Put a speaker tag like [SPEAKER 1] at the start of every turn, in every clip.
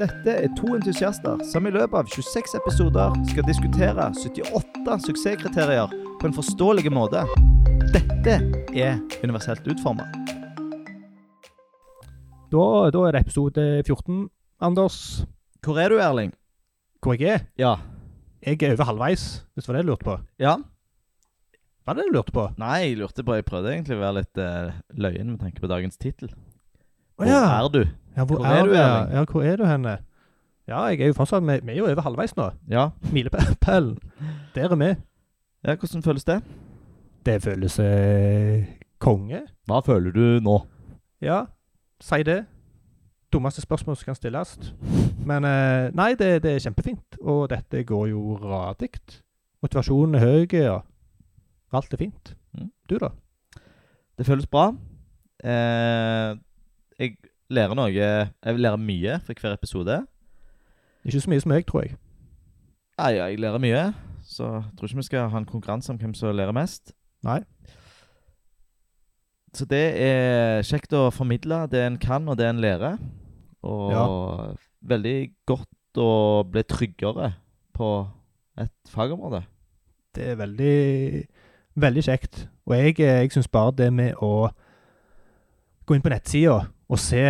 [SPEAKER 1] Dette er to entusiaster som i løpet av 26 episoder skal diskutere 78 suksesskriterier på en forståelig måte. Dette er universelt utforma.
[SPEAKER 2] Da, da er det episode 14. Anders,
[SPEAKER 1] Hvor er du, Erling?
[SPEAKER 2] hvor jeg er?
[SPEAKER 1] Ja.
[SPEAKER 2] Jeg er over halvveis, hvis det var det du lurte på.
[SPEAKER 1] Ja?
[SPEAKER 2] Hva er det du lurte på?
[SPEAKER 1] Nei, jeg lurte på Jeg prøvde egentlig å være litt eh, løyen med tanke på dagens tittel.
[SPEAKER 2] Å
[SPEAKER 1] Hvor er du?
[SPEAKER 2] Ja, hvor, er, du, ja? ja, hvor er du henne? Ja, jeg er jo fortsatt, vi, vi er jo over halvveis nå.
[SPEAKER 1] Ja.
[SPEAKER 2] Milepælen. Der er vi.
[SPEAKER 1] ja, hvordan føles det?
[SPEAKER 2] Det føles eh, konge.
[SPEAKER 1] Hva føler du nå?
[SPEAKER 2] Ja, si det. Dummeste spørsmål som kan stilles. Men eh, nei, det, det er kjempefint. Og dette går jo radikt. Motivasjonen er høy, ja. Alt er fint.
[SPEAKER 1] Mm.
[SPEAKER 2] Du, da?
[SPEAKER 1] Det føles bra. Eh, jeg lærer noe Jeg lærer mye for hver episode.
[SPEAKER 2] Ikke så mye som jeg, tror jeg.
[SPEAKER 1] Nei, ja, jeg lærer mye, så jeg tror ikke vi skal ha en konkurranse om hvem som lærer mest.
[SPEAKER 2] Nei.
[SPEAKER 1] Så det er kjekt å formidle det en kan, og det en lærer. Og veldig godt å bli tryggere på et fagområde.
[SPEAKER 2] Det er veldig, veldig kjekt. Og jeg, eh, jeg syns bare det med å gå inn på nettsida og se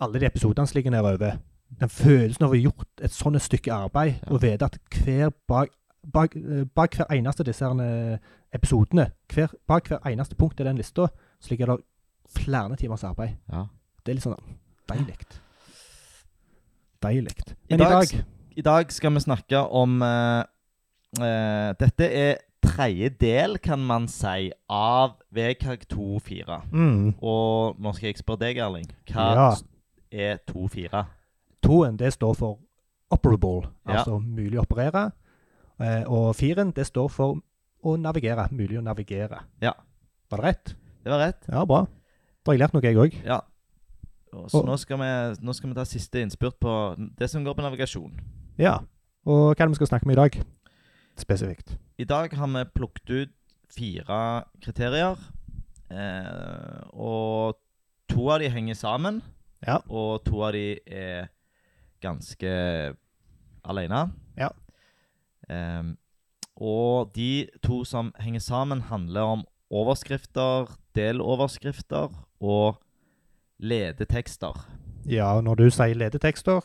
[SPEAKER 2] alle de episodene som ligger nedover, den følelsen av å ha gjort et sånt stykke arbeid,
[SPEAKER 1] Ja.
[SPEAKER 2] og vite at hver bak, bak, eh, bak hver eneste av disse herne episodene, hver, bak hver eneste punkt i den lista, så ligger det flere timers arbeid.
[SPEAKER 1] Ja.
[SPEAKER 2] Det er litt sånn deilig. Deilig.
[SPEAKER 1] I
[SPEAKER 2] Men i
[SPEAKER 1] dag-
[SPEAKER 2] dag
[SPEAKER 1] I dag skal vi snakke om eh, eh, Dette er tredje del, kan man si, av VKG 2.4.
[SPEAKER 2] mm,
[SPEAKER 1] Og nå skal jeg spørre deg, Erling. Hva
[SPEAKER 2] Ja.
[SPEAKER 1] s- er 2.4?
[SPEAKER 2] Toen, det står for operable,
[SPEAKER 1] Ja.
[SPEAKER 2] altså mulig å operere. Eh, og firen, det står for å navigere, mulig å navigere.
[SPEAKER 1] Ja.
[SPEAKER 2] Var det rett?
[SPEAKER 1] Det var rett.
[SPEAKER 2] Ja, bra. Da har jeg lært noe, jeg òg.
[SPEAKER 1] Ja. Og Så
[SPEAKER 2] Og-
[SPEAKER 1] nå skal, vi, nå skal vi ta siste innspurt på det som går på navigasjon.
[SPEAKER 2] Ja. Og hva er det vi skal snakke om i dag? Spesifikt.
[SPEAKER 1] I dag har vi plukket ut fire kriterier. Eh, og to av de henger sammen.
[SPEAKER 2] Ja.
[SPEAKER 1] Og to av de er ganske alene.
[SPEAKER 2] Ja.
[SPEAKER 1] Eh, og de to som henger sammen, handler om overskrifter, deloverskrifter og ledetekster.
[SPEAKER 2] Ja, og når du sier ledetekster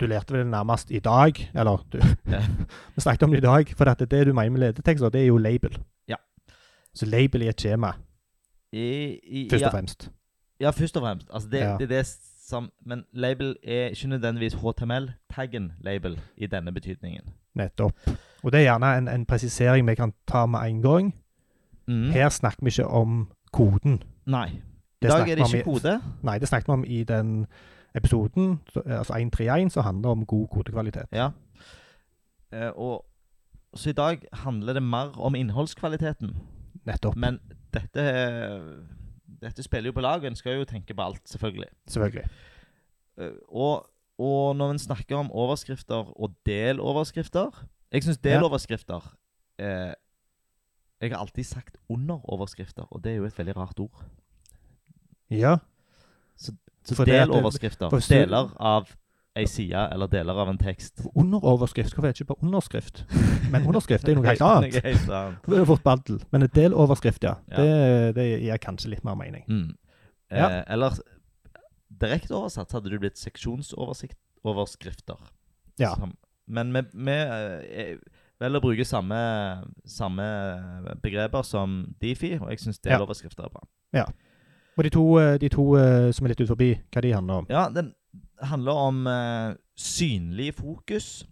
[SPEAKER 2] Du lærte vel det nærmest i dag, eller du
[SPEAKER 1] Ja.
[SPEAKER 2] Vi snakket om det i dag, for at det du mener med ledetekster, det er jo label.
[SPEAKER 1] Ja.
[SPEAKER 2] Så label i et skjema,
[SPEAKER 1] I, i,
[SPEAKER 2] først
[SPEAKER 1] ja,
[SPEAKER 2] og fremst.
[SPEAKER 1] Ja, først og fremst. Altså det,
[SPEAKER 2] Ja.
[SPEAKER 1] det er det som Men label er ikke nødvendigvis HTML-taggen label i denne betydningen.
[SPEAKER 2] Nettopp. Og det er gjerne en, en presisering vi kan ta med en gang.
[SPEAKER 1] Mm.
[SPEAKER 2] Her snakker vi ikke om koden.
[SPEAKER 1] Nei. I
[SPEAKER 2] Mhm.
[SPEAKER 1] dag er
[SPEAKER 2] Det snakker
[SPEAKER 1] det
[SPEAKER 2] vi
[SPEAKER 1] ikke
[SPEAKER 2] om i-
[SPEAKER 1] kode.
[SPEAKER 2] Nei, det snakket vi om i den episoden, så- altså 131, som handler om god kodekvalitet.
[SPEAKER 1] Ja. Eh, og Så i dag handler det mer om innholdskvaliteten.
[SPEAKER 2] Nettopp.
[SPEAKER 1] Men dette eh, Dette spiller jo på lag, og en skal jo tenke på alt, selvfølgelig.
[SPEAKER 2] Selvfølgelig.
[SPEAKER 1] Eh, og, og når en snakker om overskrifter og deloverskrifter Jeg syns
[SPEAKER 2] Ja.
[SPEAKER 1] deloverskrifter eh, Jeg har alltid sagt underoverskrifter, og det er jo et veldig rart ord.
[SPEAKER 2] Ja.
[SPEAKER 1] Så
[SPEAKER 2] For det at det-
[SPEAKER 1] deloverskrifter.
[SPEAKER 2] for hvis du-
[SPEAKER 1] Deler av ei side eller deler av en tekst.
[SPEAKER 2] Underoverskrift. Hvorfor er det ikke bare underskrift? Men underskrift er jo noe helt annet.
[SPEAKER 1] Noe helt annet.
[SPEAKER 2] Det er fort baddel. Men en deloverskrift, ja.
[SPEAKER 1] Ja.
[SPEAKER 2] Det, det gir kanskje litt mer mening.
[SPEAKER 1] Mm. Eh,
[SPEAKER 2] Ja.
[SPEAKER 1] Eller direkte oversatt så hadde du blitt seksjonsoverskrifter.
[SPEAKER 2] Ja.
[SPEAKER 1] Som- Men vi, vi eh, velger å bruke samme, samme begreper som Difi, og jeg syns
[SPEAKER 2] Ja.
[SPEAKER 1] deloverskrifter er bra.
[SPEAKER 2] Og de to, eh, de to eh, som er litt ut forbi, hva de handler om?
[SPEAKER 1] Ja, Den handler om eh, synlig fokus,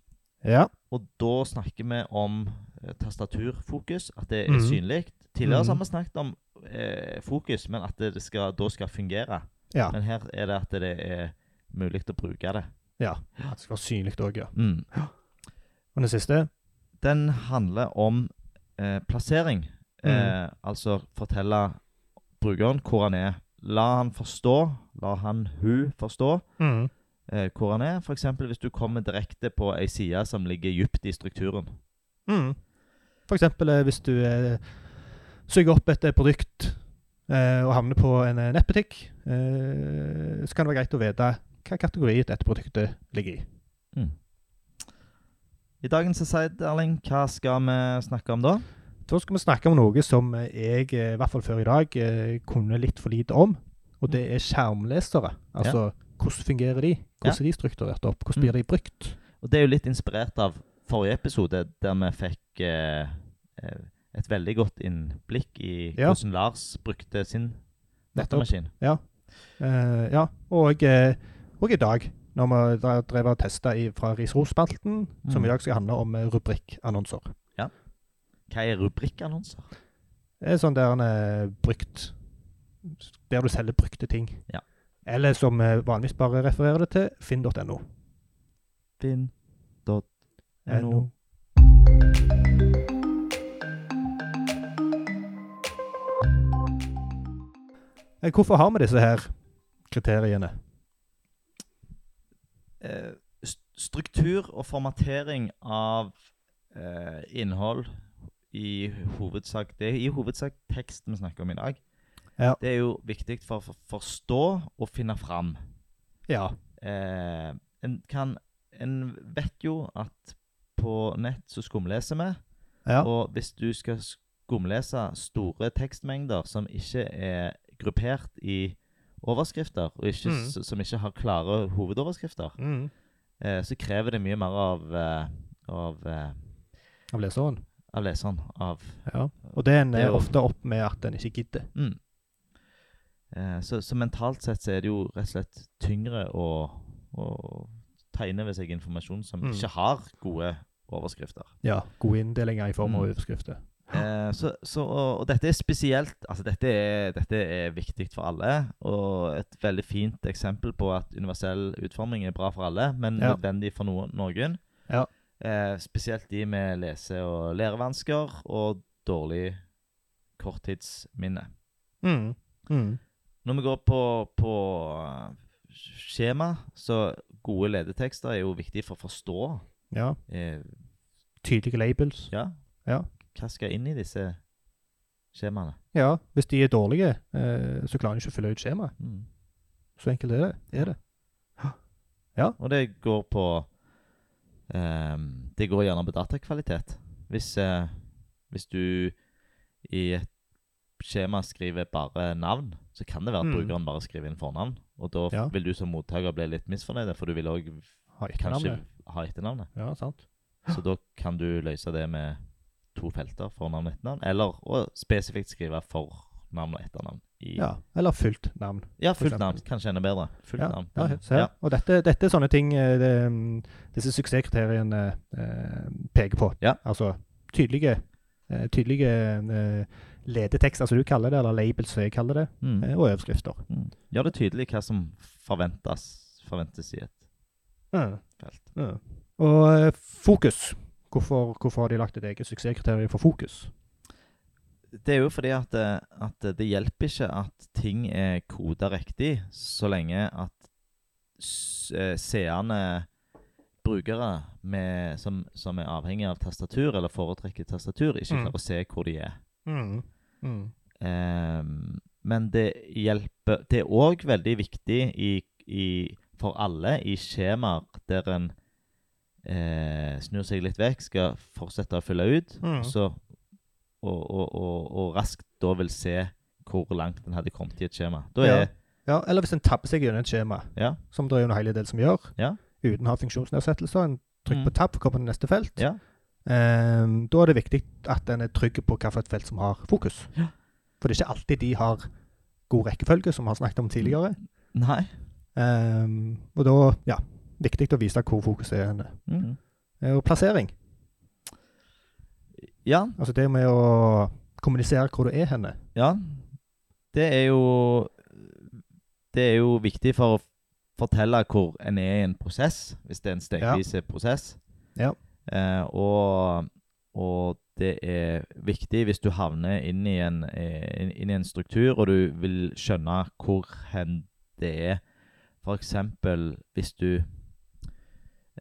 [SPEAKER 2] Ja.
[SPEAKER 1] og da snakker vi om eh, tastaturfokus, at det er
[SPEAKER 2] Mhm.
[SPEAKER 1] synlig. Tidligere så har
[SPEAKER 2] Mhm.
[SPEAKER 1] vi snakket om eh, fokus, men at det skal, da skal fungere.
[SPEAKER 2] Ja.
[SPEAKER 1] Men her er det at det er mulig å bruke det.
[SPEAKER 2] ja. Det skal være synlig òg, ja.
[SPEAKER 1] Mm.
[SPEAKER 2] Og den siste?
[SPEAKER 1] Den handler om eh, plassering.
[SPEAKER 2] Mhm.
[SPEAKER 1] Eh, altså fortelle brukeren hvor han er. La han forstå, la han hun forstå
[SPEAKER 2] Mm.
[SPEAKER 1] eh, hvor han er. F.eks. hvis du kommer direkte på ei side som ligger dypt i strukturen.
[SPEAKER 2] Mm. For eksempel eh, hvis du eh, suger opp et eh, produkt eh, og havner på en eh, nettbutikk, eh, så kan det være greit å vite hva kategori dette produktet ligger i.
[SPEAKER 1] Mm. I dagens Society, Erling, hva skal vi snakke om da?
[SPEAKER 2] Da skal vi snakke om noe som jeg, eh, i hvert fall før i dag, eh, kunne litt for lite om. Og det er skjermlesere. Altså, hvordan fungerer de? Hvordan er de strukturert opp? Hvordan blir de brukt?
[SPEAKER 1] Og det er jo litt inspirert av forrige episode, der vi fikk eh, eh, et veldig godt innblikk i
[SPEAKER 2] Ja.
[SPEAKER 1] hvordan Lars brukte sin
[SPEAKER 2] Nettopp.
[SPEAKER 1] datamaskin.
[SPEAKER 2] Eh, ja, og, eh, og i dag, når vi dre- drev og testa fra Risros-spalten, som
[SPEAKER 1] Mm.
[SPEAKER 2] i dag skal handle om eh, rubrikkannonser.
[SPEAKER 1] Hva er rubrikkannonser?
[SPEAKER 2] Det er sånn der en eh, brukt Der du selger brukte ting.
[SPEAKER 1] Ja.
[SPEAKER 2] Eller som eh, vanligvis bare refererer det til, finn.no.
[SPEAKER 1] Finn.no.
[SPEAKER 2] Eh, Hvorfor har vi disse her kriteriene?
[SPEAKER 1] eh, st- struktur og formatering av eh, innhold i hovedsak Det er i hovedsak teksten vi snakker om i dag.
[SPEAKER 2] Ja.
[SPEAKER 1] Det er jo viktig for å forstå og finne fram.
[SPEAKER 2] Ja.
[SPEAKER 1] Eh, en, kan, en vet jo at på nett så skumleser vi,
[SPEAKER 2] ja.
[SPEAKER 1] og hvis du skal skumlese store tekstmengder som ikke er gruppert i overskrifter, og ikke,
[SPEAKER 2] Mm.
[SPEAKER 1] s- som ikke har klare hovedoverskrifter,
[SPEAKER 2] Mm.
[SPEAKER 1] eh, så krever det mye mer av, eh, av, eh,
[SPEAKER 2] Av leseren.
[SPEAKER 1] av leseren. Av,
[SPEAKER 2] Ja. Og det
[SPEAKER 1] Det
[SPEAKER 2] ender
[SPEAKER 1] er jo-
[SPEAKER 2] ofte opp med at en ikke gidder.
[SPEAKER 1] mm. eh, så, så mentalt sett så er det jo rett og slett tyngre å, å tegne ved seg informasjon som
[SPEAKER 2] Mm.
[SPEAKER 1] ikke har gode overskrifter.
[SPEAKER 2] Ja. Gode inndelinger i form av
[SPEAKER 1] Mm.
[SPEAKER 2] overskrifter.
[SPEAKER 1] Eh, så, så, og, og dette er spesielt altså dette er, dette er viktig for alle, og et veldig fint eksempel på at universell utforming er bra for alle, men
[SPEAKER 2] Ja.
[SPEAKER 1] nødvendig for noen. noen.
[SPEAKER 2] Ja.
[SPEAKER 1] Eh, spesielt de med lese- og lærevansker og dårlig korttidsminne.
[SPEAKER 2] Mm. Mm.
[SPEAKER 1] Når vi går på, på eh, skjema, så gode ledetekster er jo viktig for å forstå.
[SPEAKER 2] Ja.
[SPEAKER 1] Eh,
[SPEAKER 2] Tydelige labels.
[SPEAKER 1] ja.
[SPEAKER 2] Ja.
[SPEAKER 1] Hva skal inn i disse skjemaene?
[SPEAKER 2] Ja, hvis de er dårlige, eh, så klarer de ikke å fylle ut skjemaet.
[SPEAKER 1] Mm.
[SPEAKER 2] Så enkelt er det. Er det.
[SPEAKER 1] Og det går på ehm, Det går gjerne på datakvalitet. Hvis, eh, hvis du i et skjema skriver bare navn, så kan det være at
[SPEAKER 2] Mm.
[SPEAKER 1] brukeren bare skriver inn fornavn. Og da
[SPEAKER 2] Ja.
[SPEAKER 1] vil du som mottaker bli litt misfornøyd, for du vil òg
[SPEAKER 2] Har
[SPEAKER 1] kanskje
[SPEAKER 2] etternavnet.
[SPEAKER 1] ha etternavnet.
[SPEAKER 2] Ja, sant.
[SPEAKER 1] Så da kan du løse det med to felter, fornavn og etternavn, eller å spesifikt skrive fornavn og etternavn. I, ja.
[SPEAKER 2] Ja, Eller fullt navn. for
[SPEAKER 1] fullt
[SPEAKER 2] eksempel.
[SPEAKER 1] navn. Kanskje enda bedre. Fullt
[SPEAKER 2] Ja,
[SPEAKER 1] navn.
[SPEAKER 2] Mm. ja,
[SPEAKER 1] Men-
[SPEAKER 2] se her. Og dette, dette er sånne ting eh, det, mm, disse suksesskriteriene eh, peker på.
[SPEAKER 1] Ja.
[SPEAKER 2] Altså tydelige, eh, tydelige eh, ledetekster, som du kaller det, eller labels, som jeg kaller det,
[SPEAKER 1] Mm.
[SPEAKER 2] eh, og overskrifter.
[SPEAKER 1] Mm. Gjør det tydelig hva som forventes, forventes i et
[SPEAKER 2] Mm.
[SPEAKER 1] felt.
[SPEAKER 2] Mm. Og eh, fokus. Hvorfor, hvorfor har de lagt et eget suksesskriterium for fokus?
[SPEAKER 1] Det er jo fordi at, eh, at det hjelper ikke at ting er koda riktig, så lenge at s- eh, seende brukere med, som, som er avhengig av tastatur, eller foretrekker tastatur, ikke
[SPEAKER 2] Mm.
[SPEAKER 1] klarer å se hvor de er.
[SPEAKER 2] Mm. Mm.
[SPEAKER 1] Ehm, men det hjelper Det er òg veldig viktig i, i, for alle i skjemaer der en eh, snur seg litt vekk, skal fortsette å fylle ut,
[SPEAKER 2] Mm.
[SPEAKER 1] så, og, og, og, og raskt da vil se hvor langt en hadde kommet i et skjema. Da er
[SPEAKER 2] Ja, eller hvis en tabber seg gjennom et skjema,
[SPEAKER 1] Ja.
[SPEAKER 2] som det er jo en hel del som gjør,
[SPEAKER 1] Ja.
[SPEAKER 2] uten å ha funksjonsnedsettelser. En
[SPEAKER 1] Mm.
[SPEAKER 2] trykker på tab for å komme til neste felt.
[SPEAKER 1] Ja.
[SPEAKER 2] Ehm, da er det viktig at en er trygg på hvilket felt som har fokus.
[SPEAKER 1] Ja.
[SPEAKER 2] For det er ikke alltid de har god rekkefølge, som vi har snakket om tidligere.
[SPEAKER 1] Nei. Mm.
[SPEAKER 2] Ehm, og da, ja, viktig å vise hvor fokuset er. henne.
[SPEAKER 1] Mm.
[SPEAKER 2] Eh, Og plassering.
[SPEAKER 1] Ja,
[SPEAKER 2] Altså det med å kommunisere hvor du er henne.
[SPEAKER 1] Ja, det er jo Det er jo viktig for å fortelle hvor en er i en prosess, hvis det er en stegvis prosess.
[SPEAKER 2] Ja.
[SPEAKER 1] Eh, og, og det er viktig hvis du havner inn i, en, eh, inn- inn i en struktur, og du vil skjønne hvor hen det er. For eksempel hvis du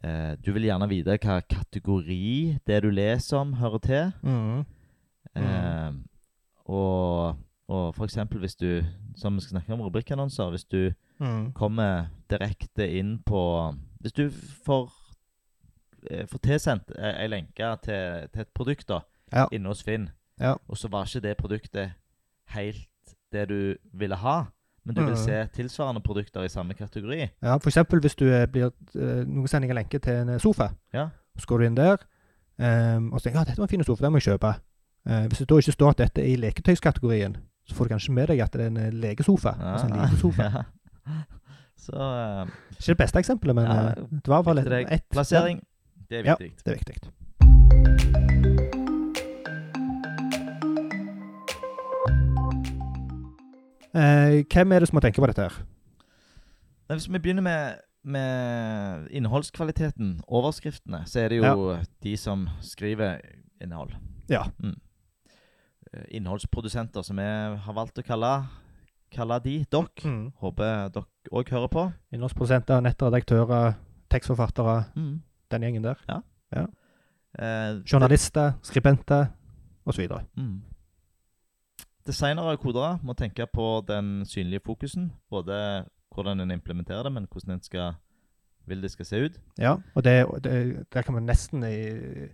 [SPEAKER 1] eh, Du vil gjerne vite hva kategori det du leser om, hører til. Mm.
[SPEAKER 2] Mm.
[SPEAKER 1] Eh, og, og for eksempel hvis du, som vi skal snakke om rubrikkannonser, hvis du
[SPEAKER 2] Mm.
[SPEAKER 1] kommer direkte inn på Hvis du får, eh, får tilsendt eh, ei lenke til, til et produkt da,
[SPEAKER 2] Ja.
[SPEAKER 1] inne hos Finn,
[SPEAKER 2] Ja.
[SPEAKER 1] og så var ikke det produktet helt det du ville ha, men du vil
[SPEAKER 2] Mhm.
[SPEAKER 1] se tilsvarende produkter i samme kategori
[SPEAKER 2] Ja, for eksempel hvis du eh, blir eh, Noen sender deg en lenke til en eh, sofa.
[SPEAKER 1] Ja.
[SPEAKER 2] Så går du inn der, ehm, og så tenker du ja, dette var en fin sofa, den må jeg kjøpe. Eh, hvis det da ikke står at dette er i leketøyskategorien, så får du kanskje med deg at det er en eh, legesofa. altså
[SPEAKER 1] Ah.
[SPEAKER 2] en liten sofa.
[SPEAKER 1] Ja. Så eh,
[SPEAKER 2] Ikke det beste eksempelet, men
[SPEAKER 1] Ja,
[SPEAKER 2] eh, det var i hvert fall
[SPEAKER 1] etter deg.
[SPEAKER 2] et- ett.
[SPEAKER 1] plassering, det er
[SPEAKER 2] Ja.
[SPEAKER 1] viktig.
[SPEAKER 2] Ja, det er viktig. Eh, hvem er det som må tenke på dette her?
[SPEAKER 1] Nei, Hvis vi begynner med, med innholdskvaliteten, overskriftene, så er det jo de som skriver innhold.
[SPEAKER 2] Ja.
[SPEAKER 1] Mm. Eh, Innholdsprodusenter, som vi har valgt å kalle, kalle de dere.
[SPEAKER 2] Mm.
[SPEAKER 1] Håper dere òg hører på.
[SPEAKER 2] Innholdsprodusenter, nettredaktører, tekstforfattere, den gjengen der.
[SPEAKER 1] Mm. Eh,
[SPEAKER 2] Journalister, skribenter osv.
[SPEAKER 1] Mm. Designere og kodere må tenke på den synlige fokusen. Både hvordan en implementerer det, men hvordan en skal, vil det skal se ut.
[SPEAKER 2] Ja, og det, og det, der kan man nesten i- eh,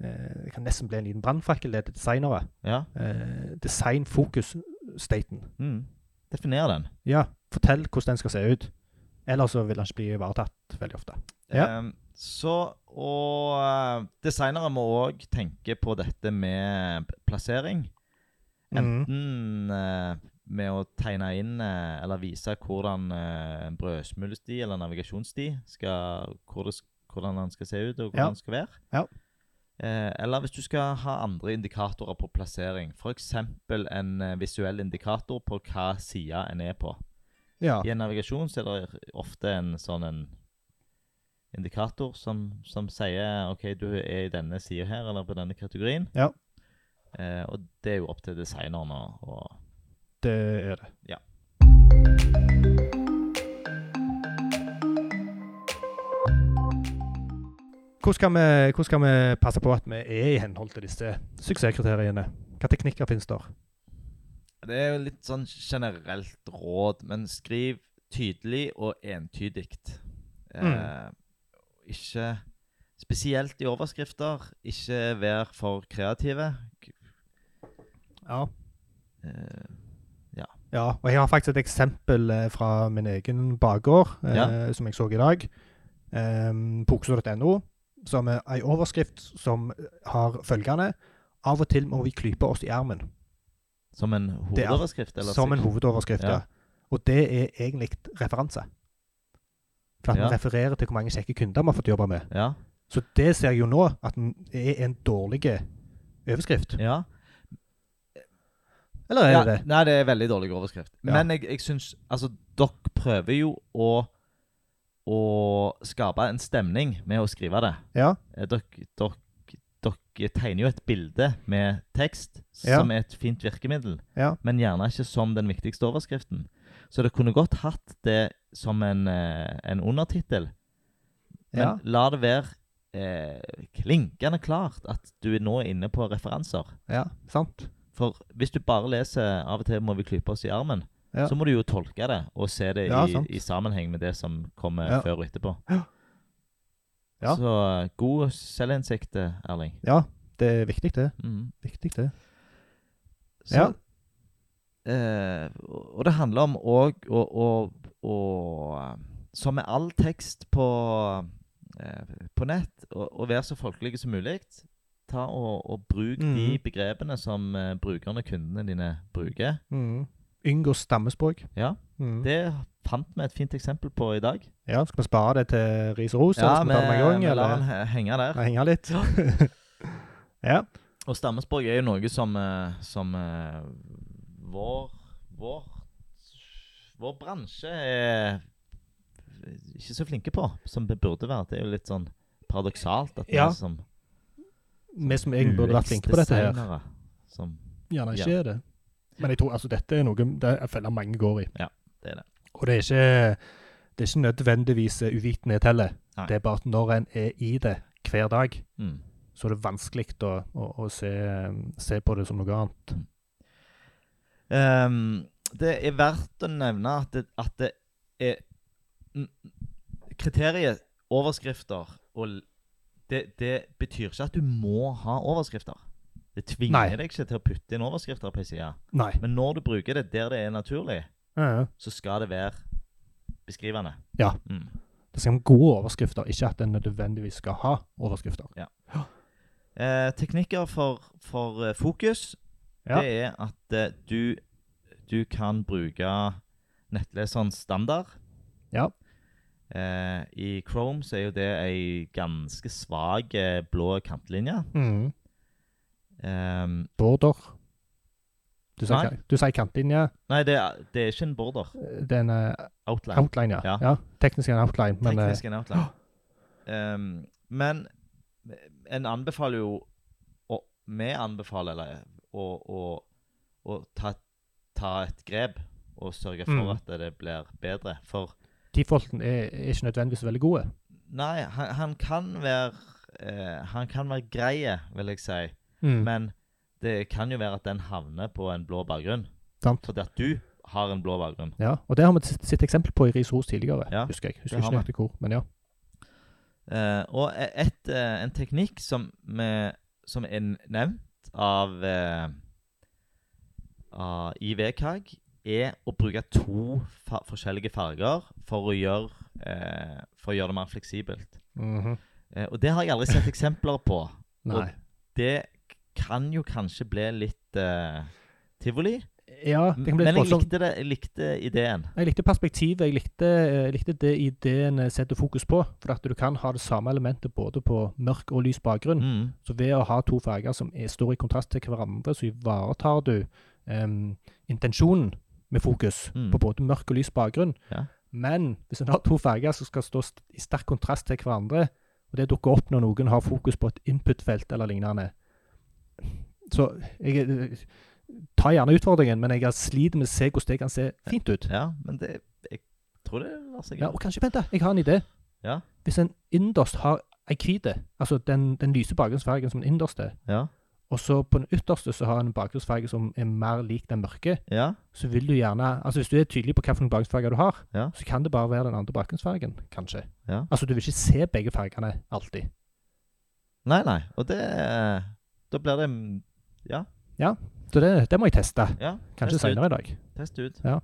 [SPEAKER 2] Det kan nesten bli en liten brannfakkel det til designere.
[SPEAKER 1] Ja.
[SPEAKER 2] Eh, design focus staten.
[SPEAKER 1] Mm. Definer den.
[SPEAKER 2] Ja, fortell hvordan den skal se ut. Ellers så vil den ikke bli ivaretatt veldig ofte. Ja.
[SPEAKER 1] Ehm, så, og eh, designere må òg tenke på dette med plassering.
[SPEAKER 2] Mhm.
[SPEAKER 1] Enten eh, med å tegne inn eh, eller vise hvordan eh, en brødsmulesti eller navigasjonsti skal hvor det, sk- Hvordan den skal se ut, og hvordan
[SPEAKER 2] Ja.
[SPEAKER 1] den skal være.
[SPEAKER 2] Ja.
[SPEAKER 1] Eh, eller hvis du skal ha andre indikatorer på plassering, f.eks. en eh, visuell indikator på hva side en er på.
[SPEAKER 2] Ja.
[SPEAKER 1] I en navigasjon så er det ofte en sånn en indikator som, som sier OK, du er i denne sida her, eller på denne kategorien.
[SPEAKER 2] Ja.
[SPEAKER 1] Eh, og det er jo opp til designeren å å-
[SPEAKER 2] Det er det.
[SPEAKER 1] Ja.
[SPEAKER 2] Hvordan skal, vi, hvordan skal vi passe på at vi er i henhold til disse suksesskriteriene? Hvilke teknikker finnes der?
[SPEAKER 1] Det er jo litt sånn generelt råd, men skriv tydelig og entydig. Eh,
[SPEAKER 2] Mm.
[SPEAKER 1] Ikke Spesielt i overskrifter. Ikke vær for kreative. K-
[SPEAKER 2] Ja.
[SPEAKER 1] Eh,
[SPEAKER 2] ja. Og jeg har faktisk et eksempel eh, fra min egen bakgård, eh,
[SPEAKER 1] Ja.
[SPEAKER 2] som jeg så i dag. Um, på okso.no. Som er ei overskrift som eh, har følgende Av og til må vi klype oss i armen.
[SPEAKER 1] som en
[SPEAKER 2] Det er
[SPEAKER 1] hovedoverskrift? eller
[SPEAKER 2] Som en
[SPEAKER 1] sek-
[SPEAKER 2] hovedoverskrift, ja.
[SPEAKER 1] Ja.
[SPEAKER 2] Og det er egentlig referanse. For at
[SPEAKER 1] Ja.
[SPEAKER 2] man refererer til hvor mange kjekke kunder man har fått jobbe med.
[SPEAKER 1] Ja.
[SPEAKER 2] Så det ser jeg jo nå, at den er en dårlig overskrift.
[SPEAKER 1] ja.
[SPEAKER 2] Eller er
[SPEAKER 1] ja,
[SPEAKER 2] det det?
[SPEAKER 1] Nei, det er veldig dårlig overskrift.
[SPEAKER 2] Ja.
[SPEAKER 1] Men jeg, jeg syns Altså, dere prøver jo å å skape en stemning med å skrive det.
[SPEAKER 2] Ja.
[SPEAKER 1] Eh, Dere, dere, dere tegner jo et bilde med tekst
[SPEAKER 2] Ja.
[SPEAKER 1] som er et fint virkemiddel,
[SPEAKER 2] Ja.
[SPEAKER 1] men gjerne ikke som den viktigste overskriften. Så dere kunne godt hatt det som en, eh, en undertittel, men
[SPEAKER 2] Ja.
[SPEAKER 1] la det være eh, klinkende klart at du er nå inne på referanser.
[SPEAKER 2] ja. Sant.
[SPEAKER 1] For hvis du bare leser 'Av og til må vi klype oss i armen',
[SPEAKER 2] Ja.
[SPEAKER 1] så må du jo tolke det og se det
[SPEAKER 2] Ja,
[SPEAKER 1] i,
[SPEAKER 2] sant.
[SPEAKER 1] i sammenheng med det som kommer
[SPEAKER 2] Ja.
[SPEAKER 1] før og etterpå.
[SPEAKER 2] Ja. Ja.
[SPEAKER 1] Så eh, god selvinnsikt, eh, Erling.
[SPEAKER 2] Ja, det er viktig, det.
[SPEAKER 1] Mhm.
[SPEAKER 2] Viktig, det.
[SPEAKER 1] Så,
[SPEAKER 2] Ja.
[SPEAKER 1] eh, og og det handler om òg å, å- å, eh, Som med all tekst på, eh, på nett, å å være så folkelige som mulig. Ta og, og Bruk de
[SPEAKER 2] Mhm.
[SPEAKER 1] begrepene som eh, brukerne og kundene dine bruker.
[SPEAKER 2] Mm. Unngå stammespråk.
[SPEAKER 1] Ja.
[SPEAKER 2] Mm.
[SPEAKER 1] Det fant vi et fint eksempel på i dag.
[SPEAKER 2] Ja, skal vi spare det til ris og ros? eller skal vi ta det med en gang?
[SPEAKER 1] vi lar den
[SPEAKER 2] eller?
[SPEAKER 1] he- henge der.
[SPEAKER 2] Henge litt. ja.
[SPEAKER 1] Og stammespråk er jo noe som, eh, som eh, vår, vår Vår bransje er ikke så flinke på, som vi burde være. Det er jo litt sånn paradoksalt at vi
[SPEAKER 2] Ja.
[SPEAKER 1] er som
[SPEAKER 2] Vi som egentlig burde vært flinke på dette her.
[SPEAKER 1] UX-designere Som
[SPEAKER 2] Gjerne
[SPEAKER 1] Ja.
[SPEAKER 2] ikke er det. Men jeg tror altså dette er noe det jeg føler mange går i.
[SPEAKER 1] Ja, det er det.
[SPEAKER 2] Og det er ikke, det er ikke nødvendigvis eh, uvitenhet heller.
[SPEAKER 1] Nei.
[SPEAKER 2] Det er bare at når en er i det hver dag,
[SPEAKER 1] mm.
[SPEAKER 2] så er det vanskelig å, å, å se, se på det som noe annet.
[SPEAKER 1] Ehm, det er verdt å nevne at det, at det eh, n- Kriteriet overskrifter og l- det, det betyr ikke at du må ha overskrifter. Det tvinger
[SPEAKER 2] Nei.
[SPEAKER 1] deg ikke til å putte inn overskrifter på ei side.
[SPEAKER 2] Nei.
[SPEAKER 1] Men når du bruker det der det er naturlig,
[SPEAKER 2] Ja, ja.
[SPEAKER 1] så skal det være beskrivende.
[SPEAKER 2] Ja.
[SPEAKER 1] Mm.
[SPEAKER 2] Det skal være gode overskrifter, ikke at en nødvendigvis skal ha overskrifter.
[SPEAKER 1] Eh, teknikker for, for eh, fokus,
[SPEAKER 2] Ja.
[SPEAKER 1] det er at eh, du, du kan bruke nettleserens standard.
[SPEAKER 2] Ja.
[SPEAKER 1] Eh, I Chrome så er jo det ei ganske svak eh, blå kantlinje.
[SPEAKER 2] Mm.
[SPEAKER 1] Ehm,
[SPEAKER 2] Border. Du
[SPEAKER 1] Nei.
[SPEAKER 2] sier, du sier kantlinje.
[SPEAKER 1] nei, det er, det er ikke en border.
[SPEAKER 2] Det er en eh,
[SPEAKER 1] Outline.
[SPEAKER 2] outline, ja.
[SPEAKER 1] Ja.
[SPEAKER 2] ja. Teknisk er en outline, men eh,
[SPEAKER 1] Teknisk en outline. Ehm, men eh, en anbefaler jo og Vi anbefaler eller, å, å, å ta, ta et grep og sørge for
[SPEAKER 2] Mm.
[SPEAKER 1] at det blir bedre. For
[SPEAKER 2] defaulten er, er ikke nødvendigvis veldig gode.
[SPEAKER 1] nei, han, han kan være eh, Han kan være greie, vil jeg si.
[SPEAKER 2] Mm.
[SPEAKER 1] Men det kan jo være at den havner på en blå bakgrunn.
[SPEAKER 2] Sant.
[SPEAKER 1] Fordi at du har en blå bakgrunn.
[SPEAKER 2] Ja, og det har vi sett sett eksempel på i Riis Ros tidligere,
[SPEAKER 1] Ja,
[SPEAKER 2] husker jeg.
[SPEAKER 1] det
[SPEAKER 2] Husker
[SPEAKER 1] har
[SPEAKER 2] ikke
[SPEAKER 1] vi.
[SPEAKER 2] nøyaktig hvor, men ja.
[SPEAKER 1] Eh, og e- et, eh, en teknikk som, vi- som er nevnt av, eh, av i VKG, er å bruke to fa forskjellige farger for å gjøre, eh, for å gjøre det mer fleksibelt. Eh, og det har jeg aldri sett eksempler på.
[SPEAKER 2] Nei.
[SPEAKER 1] Det kan jo kanskje bli litt eh, tivoli,
[SPEAKER 2] Ja, det
[SPEAKER 1] men
[SPEAKER 2] kan bli
[SPEAKER 1] jeg
[SPEAKER 2] litt voldsomt.
[SPEAKER 1] likte, det, jeg likte ideen.
[SPEAKER 2] Jeg likte perspektivet. Jeg likte, eh, jeg likte det ideen eh, setter fokus på. For at du kan ha det samme elementet både på mørk og lys bakgrunn.
[SPEAKER 1] Mm.
[SPEAKER 2] Så ved å ha to farger som er, står i kontrast til hverandre, så ivaretar du em, intensjonen med fokus
[SPEAKER 1] Mm.
[SPEAKER 2] på både mørk og lys bakgrunn.
[SPEAKER 1] Ja.
[SPEAKER 2] Men hvis en har to farger som skal stå st- i sterk kontrast til hverandre, og det dukker opp når noen har fokus på et input-felt eller lignende Så jeg eh, tar gjerne utfordringen, men jeg sliter med å se hvordan det kan se fint ut.
[SPEAKER 1] Ja, men det, jeg tror det lar seg
[SPEAKER 2] Ja,
[SPEAKER 1] gjøre.
[SPEAKER 2] og kanskje, vent da, jeg har en idé.
[SPEAKER 1] Ja.
[SPEAKER 2] Hvis en innerst har ei hvit, altså den, den lyse bakgrunnsfargen som den innerste,
[SPEAKER 1] Ja.
[SPEAKER 2] og så på den ytterste så har en bakgrunnsfarge som er mer lik den mørke,
[SPEAKER 1] Ja.
[SPEAKER 2] så vil du gjerne Altså hvis du er tydelig på hvilken bakgrunnsfarge du har,
[SPEAKER 1] Ja.
[SPEAKER 2] så kan det bare være den andre bakgrunnsfargen, kanskje.
[SPEAKER 1] Ja.
[SPEAKER 2] Altså du vil ikke se begge fargene alltid.
[SPEAKER 1] Nei, nei. Og det Da blir det mm,
[SPEAKER 2] Så det, det må jeg teste.
[SPEAKER 1] Ja, test
[SPEAKER 2] Kanskje
[SPEAKER 1] ut.
[SPEAKER 2] seinere i dag.
[SPEAKER 1] Test ut.
[SPEAKER 2] Ja.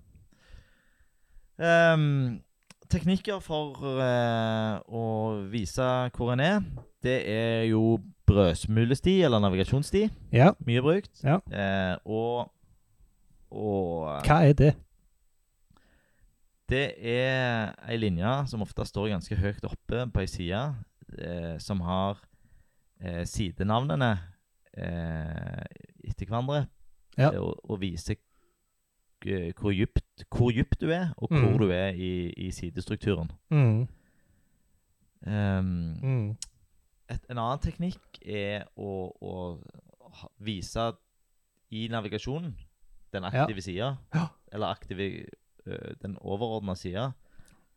[SPEAKER 1] Ehm, teknikker for eh, å vise hvor en er, det er jo brødsmulesti eller navigasjonsti.
[SPEAKER 2] Ja.
[SPEAKER 1] Mye brukt.
[SPEAKER 2] Ja.
[SPEAKER 1] Eh, og og
[SPEAKER 2] Hva er det?
[SPEAKER 1] det er ei linje som ofte står ganske høyt oppe på ei side, eh, som har eh, sidenavnene eh, etter hverandre,
[SPEAKER 2] Ja.
[SPEAKER 1] eh, og, og viser eh, hvor djupt, hvor djupt du er, og hvor
[SPEAKER 2] Mm.
[SPEAKER 1] du er i, i sidestrukturen.
[SPEAKER 2] Mm.
[SPEAKER 1] Ehm,
[SPEAKER 2] Mm.
[SPEAKER 1] et, en annen teknikk er å, å ha- vise i navigasjonen den
[SPEAKER 2] Ja.
[SPEAKER 1] aktive sida,
[SPEAKER 2] Ja.
[SPEAKER 1] eller aktive, eh, den overordna sida.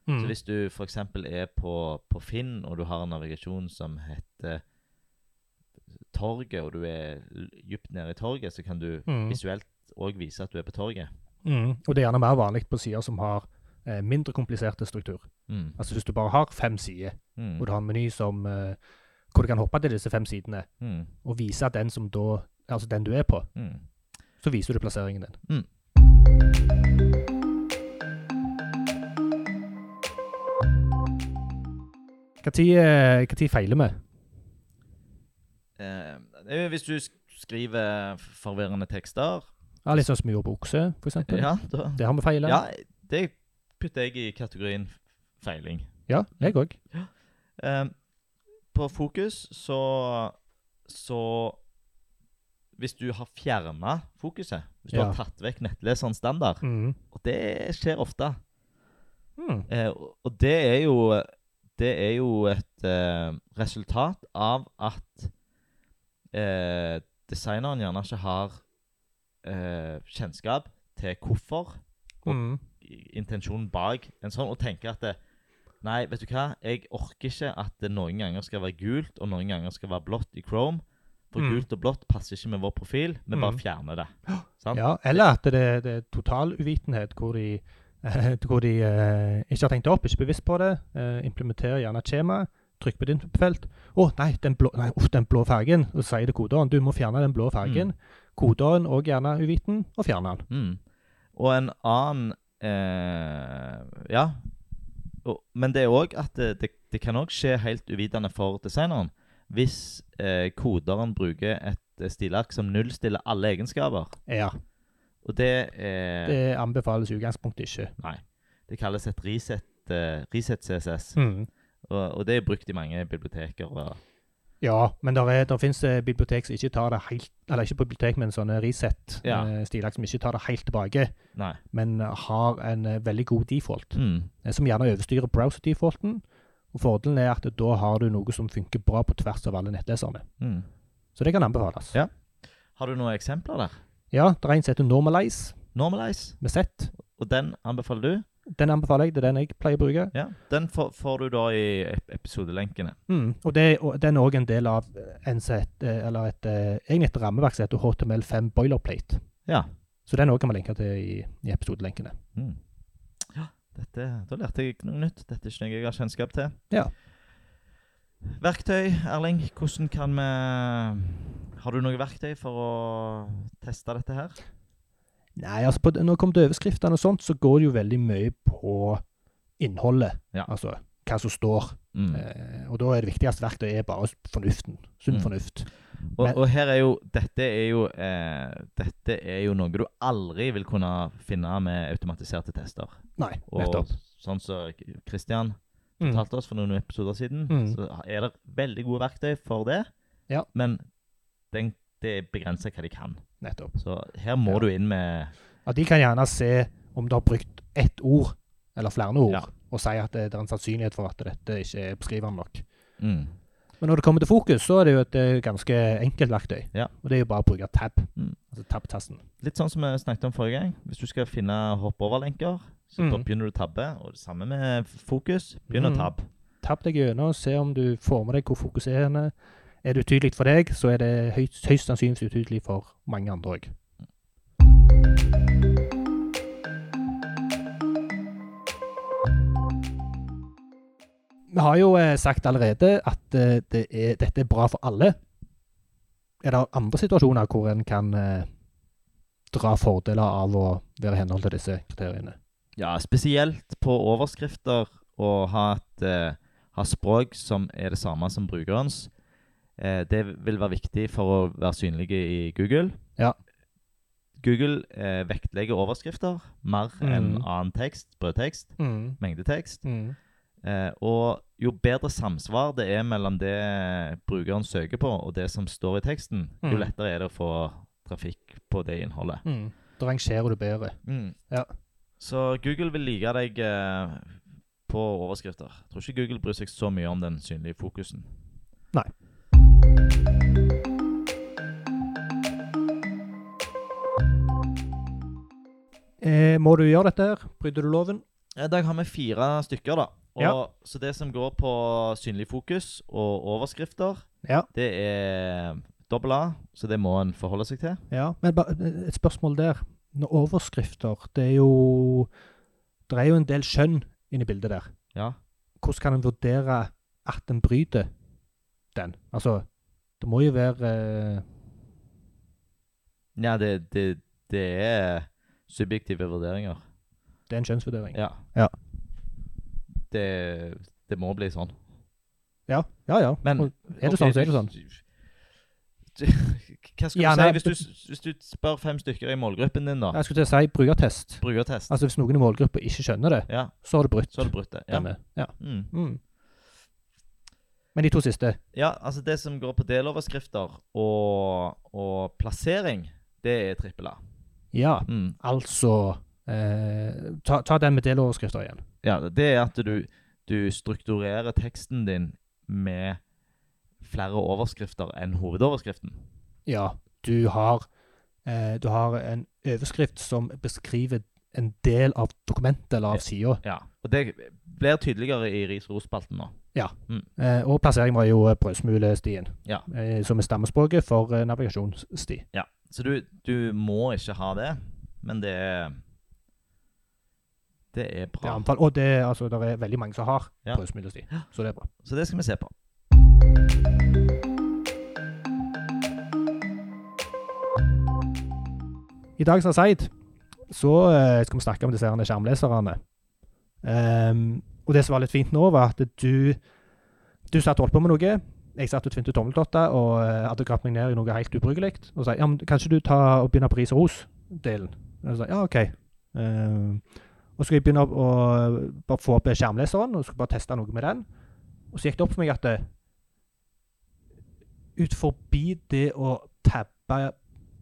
[SPEAKER 2] Mm.
[SPEAKER 1] Så hvis du f.eks. er på, på Finn, og du har en navigasjon som heter Torget, og du er l- dypt nede i torget, så kan du
[SPEAKER 2] Mm.
[SPEAKER 1] visuelt òg vise at du er på torget.
[SPEAKER 2] Mm. Og det er gjerne mer vanlig på sider som har eh, mindre kompliserte struktur.
[SPEAKER 1] Mm.
[SPEAKER 2] Altså hvis du bare har fem sider,
[SPEAKER 1] Mm.
[SPEAKER 2] hvor du har en meny som, eh, hvor du kan hoppe til disse fem sidene,
[SPEAKER 1] Mm.
[SPEAKER 2] og vise at den, som da, altså den du er på,
[SPEAKER 1] Mm.
[SPEAKER 2] så viser du plasseringen din.
[SPEAKER 1] Mm.
[SPEAKER 2] Hva tid, eh, hva tid feiler vi?
[SPEAKER 1] Eh, det er jo hvis du sk- skriver f- forvirrende tekster
[SPEAKER 2] Ja, litt sånn som vi gjorde på okse, for eksempel.
[SPEAKER 1] Ja, da,
[SPEAKER 2] Det har vi feilet.
[SPEAKER 1] ja det putter jeg i kategorien f- feiling.
[SPEAKER 2] Ja, jeg
[SPEAKER 1] Mm.
[SPEAKER 2] òg.
[SPEAKER 1] Eh, på fokus så Så Hvis du har fjerna fokuset, hvis du
[SPEAKER 2] Ja.
[SPEAKER 1] har tatt vekk nettleserens standard,
[SPEAKER 2] Mm.
[SPEAKER 1] og det skjer ofte
[SPEAKER 2] Mm.
[SPEAKER 1] eh, og- Og det er jo Det er jo et eh, resultat av at eh, designeren gjerne ikke har eh, kjennskap til hvorfor
[SPEAKER 2] Mm.
[SPEAKER 1] intensjonen bak en sånn, og tenker at det, Nei, vet du hva? Jeg orker ikke at det noen ganger skal være gult, og noen ganger skal være blått i Chrome. For
[SPEAKER 2] Mm.
[SPEAKER 1] gult og blått passer ikke med vår profil. Vi
[SPEAKER 2] Mm.
[SPEAKER 1] bare fjerner det. Sant?
[SPEAKER 2] Ja, eller at det, det er total uvitenhet, hvor de eh, hvor de eh, ikke har tenkt det opp, ikke bevisst på det. Eh, implementerer gjerne et skjema. Trykk på ditt felt. 'Å nei, den blå, nei, uff, den blå fargen.' Og så sier det koderen. 'Du må fjerne den blå fargen.' Koderen òg gjerne uviten, og fjerner den.
[SPEAKER 1] Mm. Og en annen eh, Ja. Og, men det er òg at det, det, det kan òg skje helt uvitende for designeren. Hvis eh, koderen bruker et eh, stilark som nullstiller alle egenskaper.
[SPEAKER 2] Ja.
[SPEAKER 1] Og det eh, er
[SPEAKER 2] Det anbefales i utgangspunktet ikke.
[SPEAKER 1] Nei. Det kalles et reset, eh, reset CSS.
[SPEAKER 2] Mm.
[SPEAKER 1] Og, og det er brukt i mange biblioteker. Og,
[SPEAKER 2] Ja, men der fins bibliotek som ikke tar det helt Eller ikke bibliotek, men sånne
[SPEAKER 1] Ja.
[SPEAKER 2] reset-stilag som ikke tar det helt tilbake,
[SPEAKER 1] nei.
[SPEAKER 2] men eh, har en eh, veldig god default.
[SPEAKER 1] Mm.
[SPEAKER 2] eh, som gjerne overstyrer browser-defaulten. Og Fordelen er at da har du noe som funker bra på tvers av alle nettleserne.
[SPEAKER 1] Mm.
[SPEAKER 2] Så det kan anbefales.
[SPEAKER 1] Ja. Har du noen eksempler der?
[SPEAKER 2] Ja, det er en som heter Normalize
[SPEAKER 1] Normalize.
[SPEAKER 2] med Z.
[SPEAKER 1] Og den anbefaler du?
[SPEAKER 2] Den anbefaler jeg. Det er den jeg pleier å bruke.
[SPEAKER 1] Ja. Den får, får du da i ep- episodelenkene.
[SPEAKER 2] Mm. Og, det, og den er òg en del av en set, eh, eller et, eh, egentlig et rammeverk som heter HTML5 Boilerplate.
[SPEAKER 1] Ja.
[SPEAKER 2] Så den òg kan vi lenke til i, i episodelenkene.
[SPEAKER 1] Mm. Ja, dette, da lærte jeg noe nytt. Dette er ikke noe jeg har kjennskap til.
[SPEAKER 2] Ja.
[SPEAKER 1] Verktøy, Erling. Hvordan kan vi Har du noe verktøy for å teste dette her?
[SPEAKER 2] Nei, altså på, når det kommer til overskriftene og sånt, så går det jo veldig mye på innholdet.
[SPEAKER 1] Ja.
[SPEAKER 2] Altså hva som står.
[SPEAKER 1] Mm.
[SPEAKER 2] Eh, og da er det viktigste verktøyet er bare fornuften. Sunn
[SPEAKER 1] Mm.
[SPEAKER 2] fornuft.
[SPEAKER 1] Og,
[SPEAKER 2] men-
[SPEAKER 1] og her er jo Dette er jo eh, Dette er jo noe du aldri vil kunne finne med automatiserte tester.
[SPEAKER 2] Nei,
[SPEAKER 1] Og
[SPEAKER 2] nettopp.
[SPEAKER 1] sånn som Christian
[SPEAKER 2] Mm.
[SPEAKER 1] fortalte oss for noen episoder siden,
[SPEAKER 2] Mm.
[SPEAKER 1] så er det veldig gode verktøy for det.
[SPEAKER 2] Ja.
[SPEAKER 1] Men den, det er begrenset hva de kan.
[SPEAKER 2] nettopp.
[SPEAKER 1] Så her må
[SPEAKER 2] Ja.
[SPEAKER 1] du inn med
[SPEAKER 2] Ja, de kan gjerne se om du har brukt ett ord, eller flere ord,
[SPEAKER 1] Ja.
[SPEAKER 2] og si at det det er en sannsynlighet for at dette ikke er beskrivende nok.
[SPEAKER 1] mm,
[SPEAKER 2] Men når det kommer til fokus, så er det jo et eh, ganske enkelt verktøy.
[SPEAKER 1] Ja.
[SPEAKER 2] Og det er jo bare å bruke tab.
[SPEAKER 1] Mm.
[SPEAKER 2] Altså tab-tasten.
[SPEAKER 1] Litt sånn som vi snakket om forrige gang. Hvis du skal finne hoppoverlenker, så
[SPEAKER 2] Mm.
[SPEAKER 1] bare begynner du å tabbe. Og det samme med f- fokus. Begynn å
[SPEAKER 2] Mm.
[SPEAKER 1] tabbe.
[SPEAKER 2] Tab deg gjennom, se om du får med deg hvor fokuserende er det utydelig for deg, så er det høyst, høyst sannsynligvis utydelig for mange andre òg. Vi har jo eh, sagt allerede at eh, det er, dette er bra for alle. Er det andre situasjoner hvor en kan eh, dra fordeler av å være i henhold til disse kriteriene?
[SPEAKER 1] Ja, spesielt på overskrifter og ha et eh, ha språk som er det samme som brukerens. Eh, det vil være viktig for å være synlige i Google.
[SPEAKER 2] Ja.
[SPEAKER 1] Google eh, vektlegger overskrifter mer enn
[SPEAKER 2] Mm.
[SPEAKER 1] annen tekst, brødtekst, mengdetekst. Eh, og jo bedre samsvar det er mellom det brukeren søker på, og det som står i teksten, jo
[SPEAKER 2] Mm.
[SPEAKER 1] lettere er det å få trafikk på det innholdet.
[SPEAKER 2] Da rangerer du bedre. Ja.
[SPEAKER 1] Mm. Så Google vil like deg eh, på overskrifter. Jeg tror ikke Google bryr seg så mye om den synlige fokusen.
[SPEAKER 2] Nei. Eh, må du gjøre dette her? Bryter du loven?
[SPEAKER 1] I dag har vi fire stykker, da. Og,
[SPEAKER 2] Ja.
[SPEAKER 1] Så det som går på synlig fokus og overskrifter,
[SPEAKER 2] Ja.
[SPEAKER 1] det er dobbel A, så det må en forholde seg til.
[SPEAKER 2] ja. Men ba, eh, et spørsmål der. Når overskrifter Det er jo Det er jo en del skjønn inni bildet der.
[SPEAKER 1] Ja.
[SPEAKER 2] Hvordan kan en vurdere at en bryter den? Altså, det må jo være eh,
[SPEAKER 1] Ja, det, det, det er subjektive vurderinger.
[SPEAKER 2] Det er en skjønnsvurdering.
[SPEAKER 1] Ja.
[SPEAKER 2] Ja.
[SPEAKER 1] Det, det må bli sånn.
[SPEAKER 2] Ja, ja. ja.
[SPEAKER 1] Men-
[SPEAKER 2] Og er det sånn, så er det sånn.
[SPEAKER 1] Hva skal
[SPEAKER 2] Ja,
[SPEAKER 1] du
[SPEAKER 2] nei,
[SPEAKER 1] si hvis du, hvis du spør fem stykker i målgruppen din, da?
[SPEAKER 2] Jeg skulle til å si brukertest.
[SPEAKER 1] Brukertest.
[SPEAKER 2] Altså, hvis noen i målgruppa ikke skjønner det,
[SPEAKER 1] Ja,
[SPEAKER 2] så har du brutt
[SPEAKER 1] så har du brutt det. Ja.
[SPEAKER 2] denne. Ja.
[SPEAKER 1] Mm.
[SPEAKER 2] Mm. Men de to siste
[SPEAKER 1] ja, altså det som går på deloverskrifter og, og plassering, det er trippel A.
[SPEAKER 2] Ja,
[SPEAKER 1] Mm.
[SPEAKER 2] altså eh, ta, ta den med deloverskrifter igjen.
[SPEAKER 1] Ja, det er at du, du strukturerer teksten din med flere overskrifter enn hovedoverskriften.
[SPEAKER 2] Ja, du har, eh, du har en overskrift som beskriver en del av dokumentet eller av sida.
[SPEAKER 1] Ja, og det blir tydeligere i ris og ros-spalten nå.
[SPEAKER 2] Eh, og plassering var jo eh, brødsmulestien,
[SPEAKER 1] Ja.
[SPEAKER 2] eh, som er stammespråket for eh, navigasjonssti.
[SPEAKER 1] Så du, du må ikke ha det, men det er Det er
[SPEAKER 2] Det
[SPEAKER 1] bra.
[SPEAKER 2] er anbefalt. Og det, altså, det er veldig mange som har
[SPEAKER 1] Ja.
[SPEAKER 2] påsmiddelstid, så det er bra.
[SPEAKER 1] Så det skal vi se på.
[SPEAKER 2] I dagens Aside så eh, skal vi snakke om disse herne skjermleserne. Ehm, og det som var litt fint nå, var at du, du satt og holdt på med noe. Jeg satt og tvinte tommeltotter og eh, hadde gravd meg ned i noe helt ubrukelig. Og sa ja, men kanskje du tar og begynner på ris og ros-delen. Og så sa jeg, ja, OK. Ehm, og så skulle jeg begynne å å bare få opp skjermleseren og skulle bare teste noe med den. Og så gikk det opp for meg at eh, ut forbi det å tabbe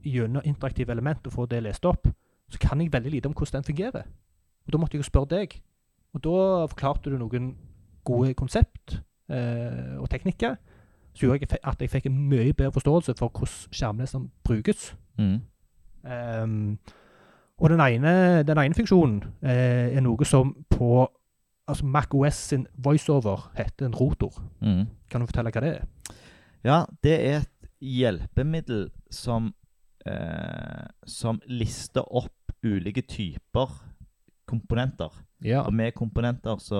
[SPEAKER 2] gjennom interaktive element og få det lest opp, så kan jeg veldig lite om hvordan den fungerer. Og Da måtte jeg jo spørre deg. Og da forklarte du noen gode konsept eh, og teknikker som gjorde jeg fe- at jeg fikk en mye bedre forståelse for hvordan skjermleseren brukes.
[SPEAKER 1] Mm.
[SPEAKER 2] Ehm, og den ene, den ene funksjonen eh, er noe som på altså Mac OS sin voiceover heter en rotor.
[SPEAKER 1] Mm.
[SPEAKER 2] Kan du fortelle hva det er?
[SPEAKER 1] Ja, det er et hjelpemiddel som eh, Som lister opp ulike typer komponenter.
[SPEAKER 2] Ja,
[SPEAKER 1] Og med komponenter så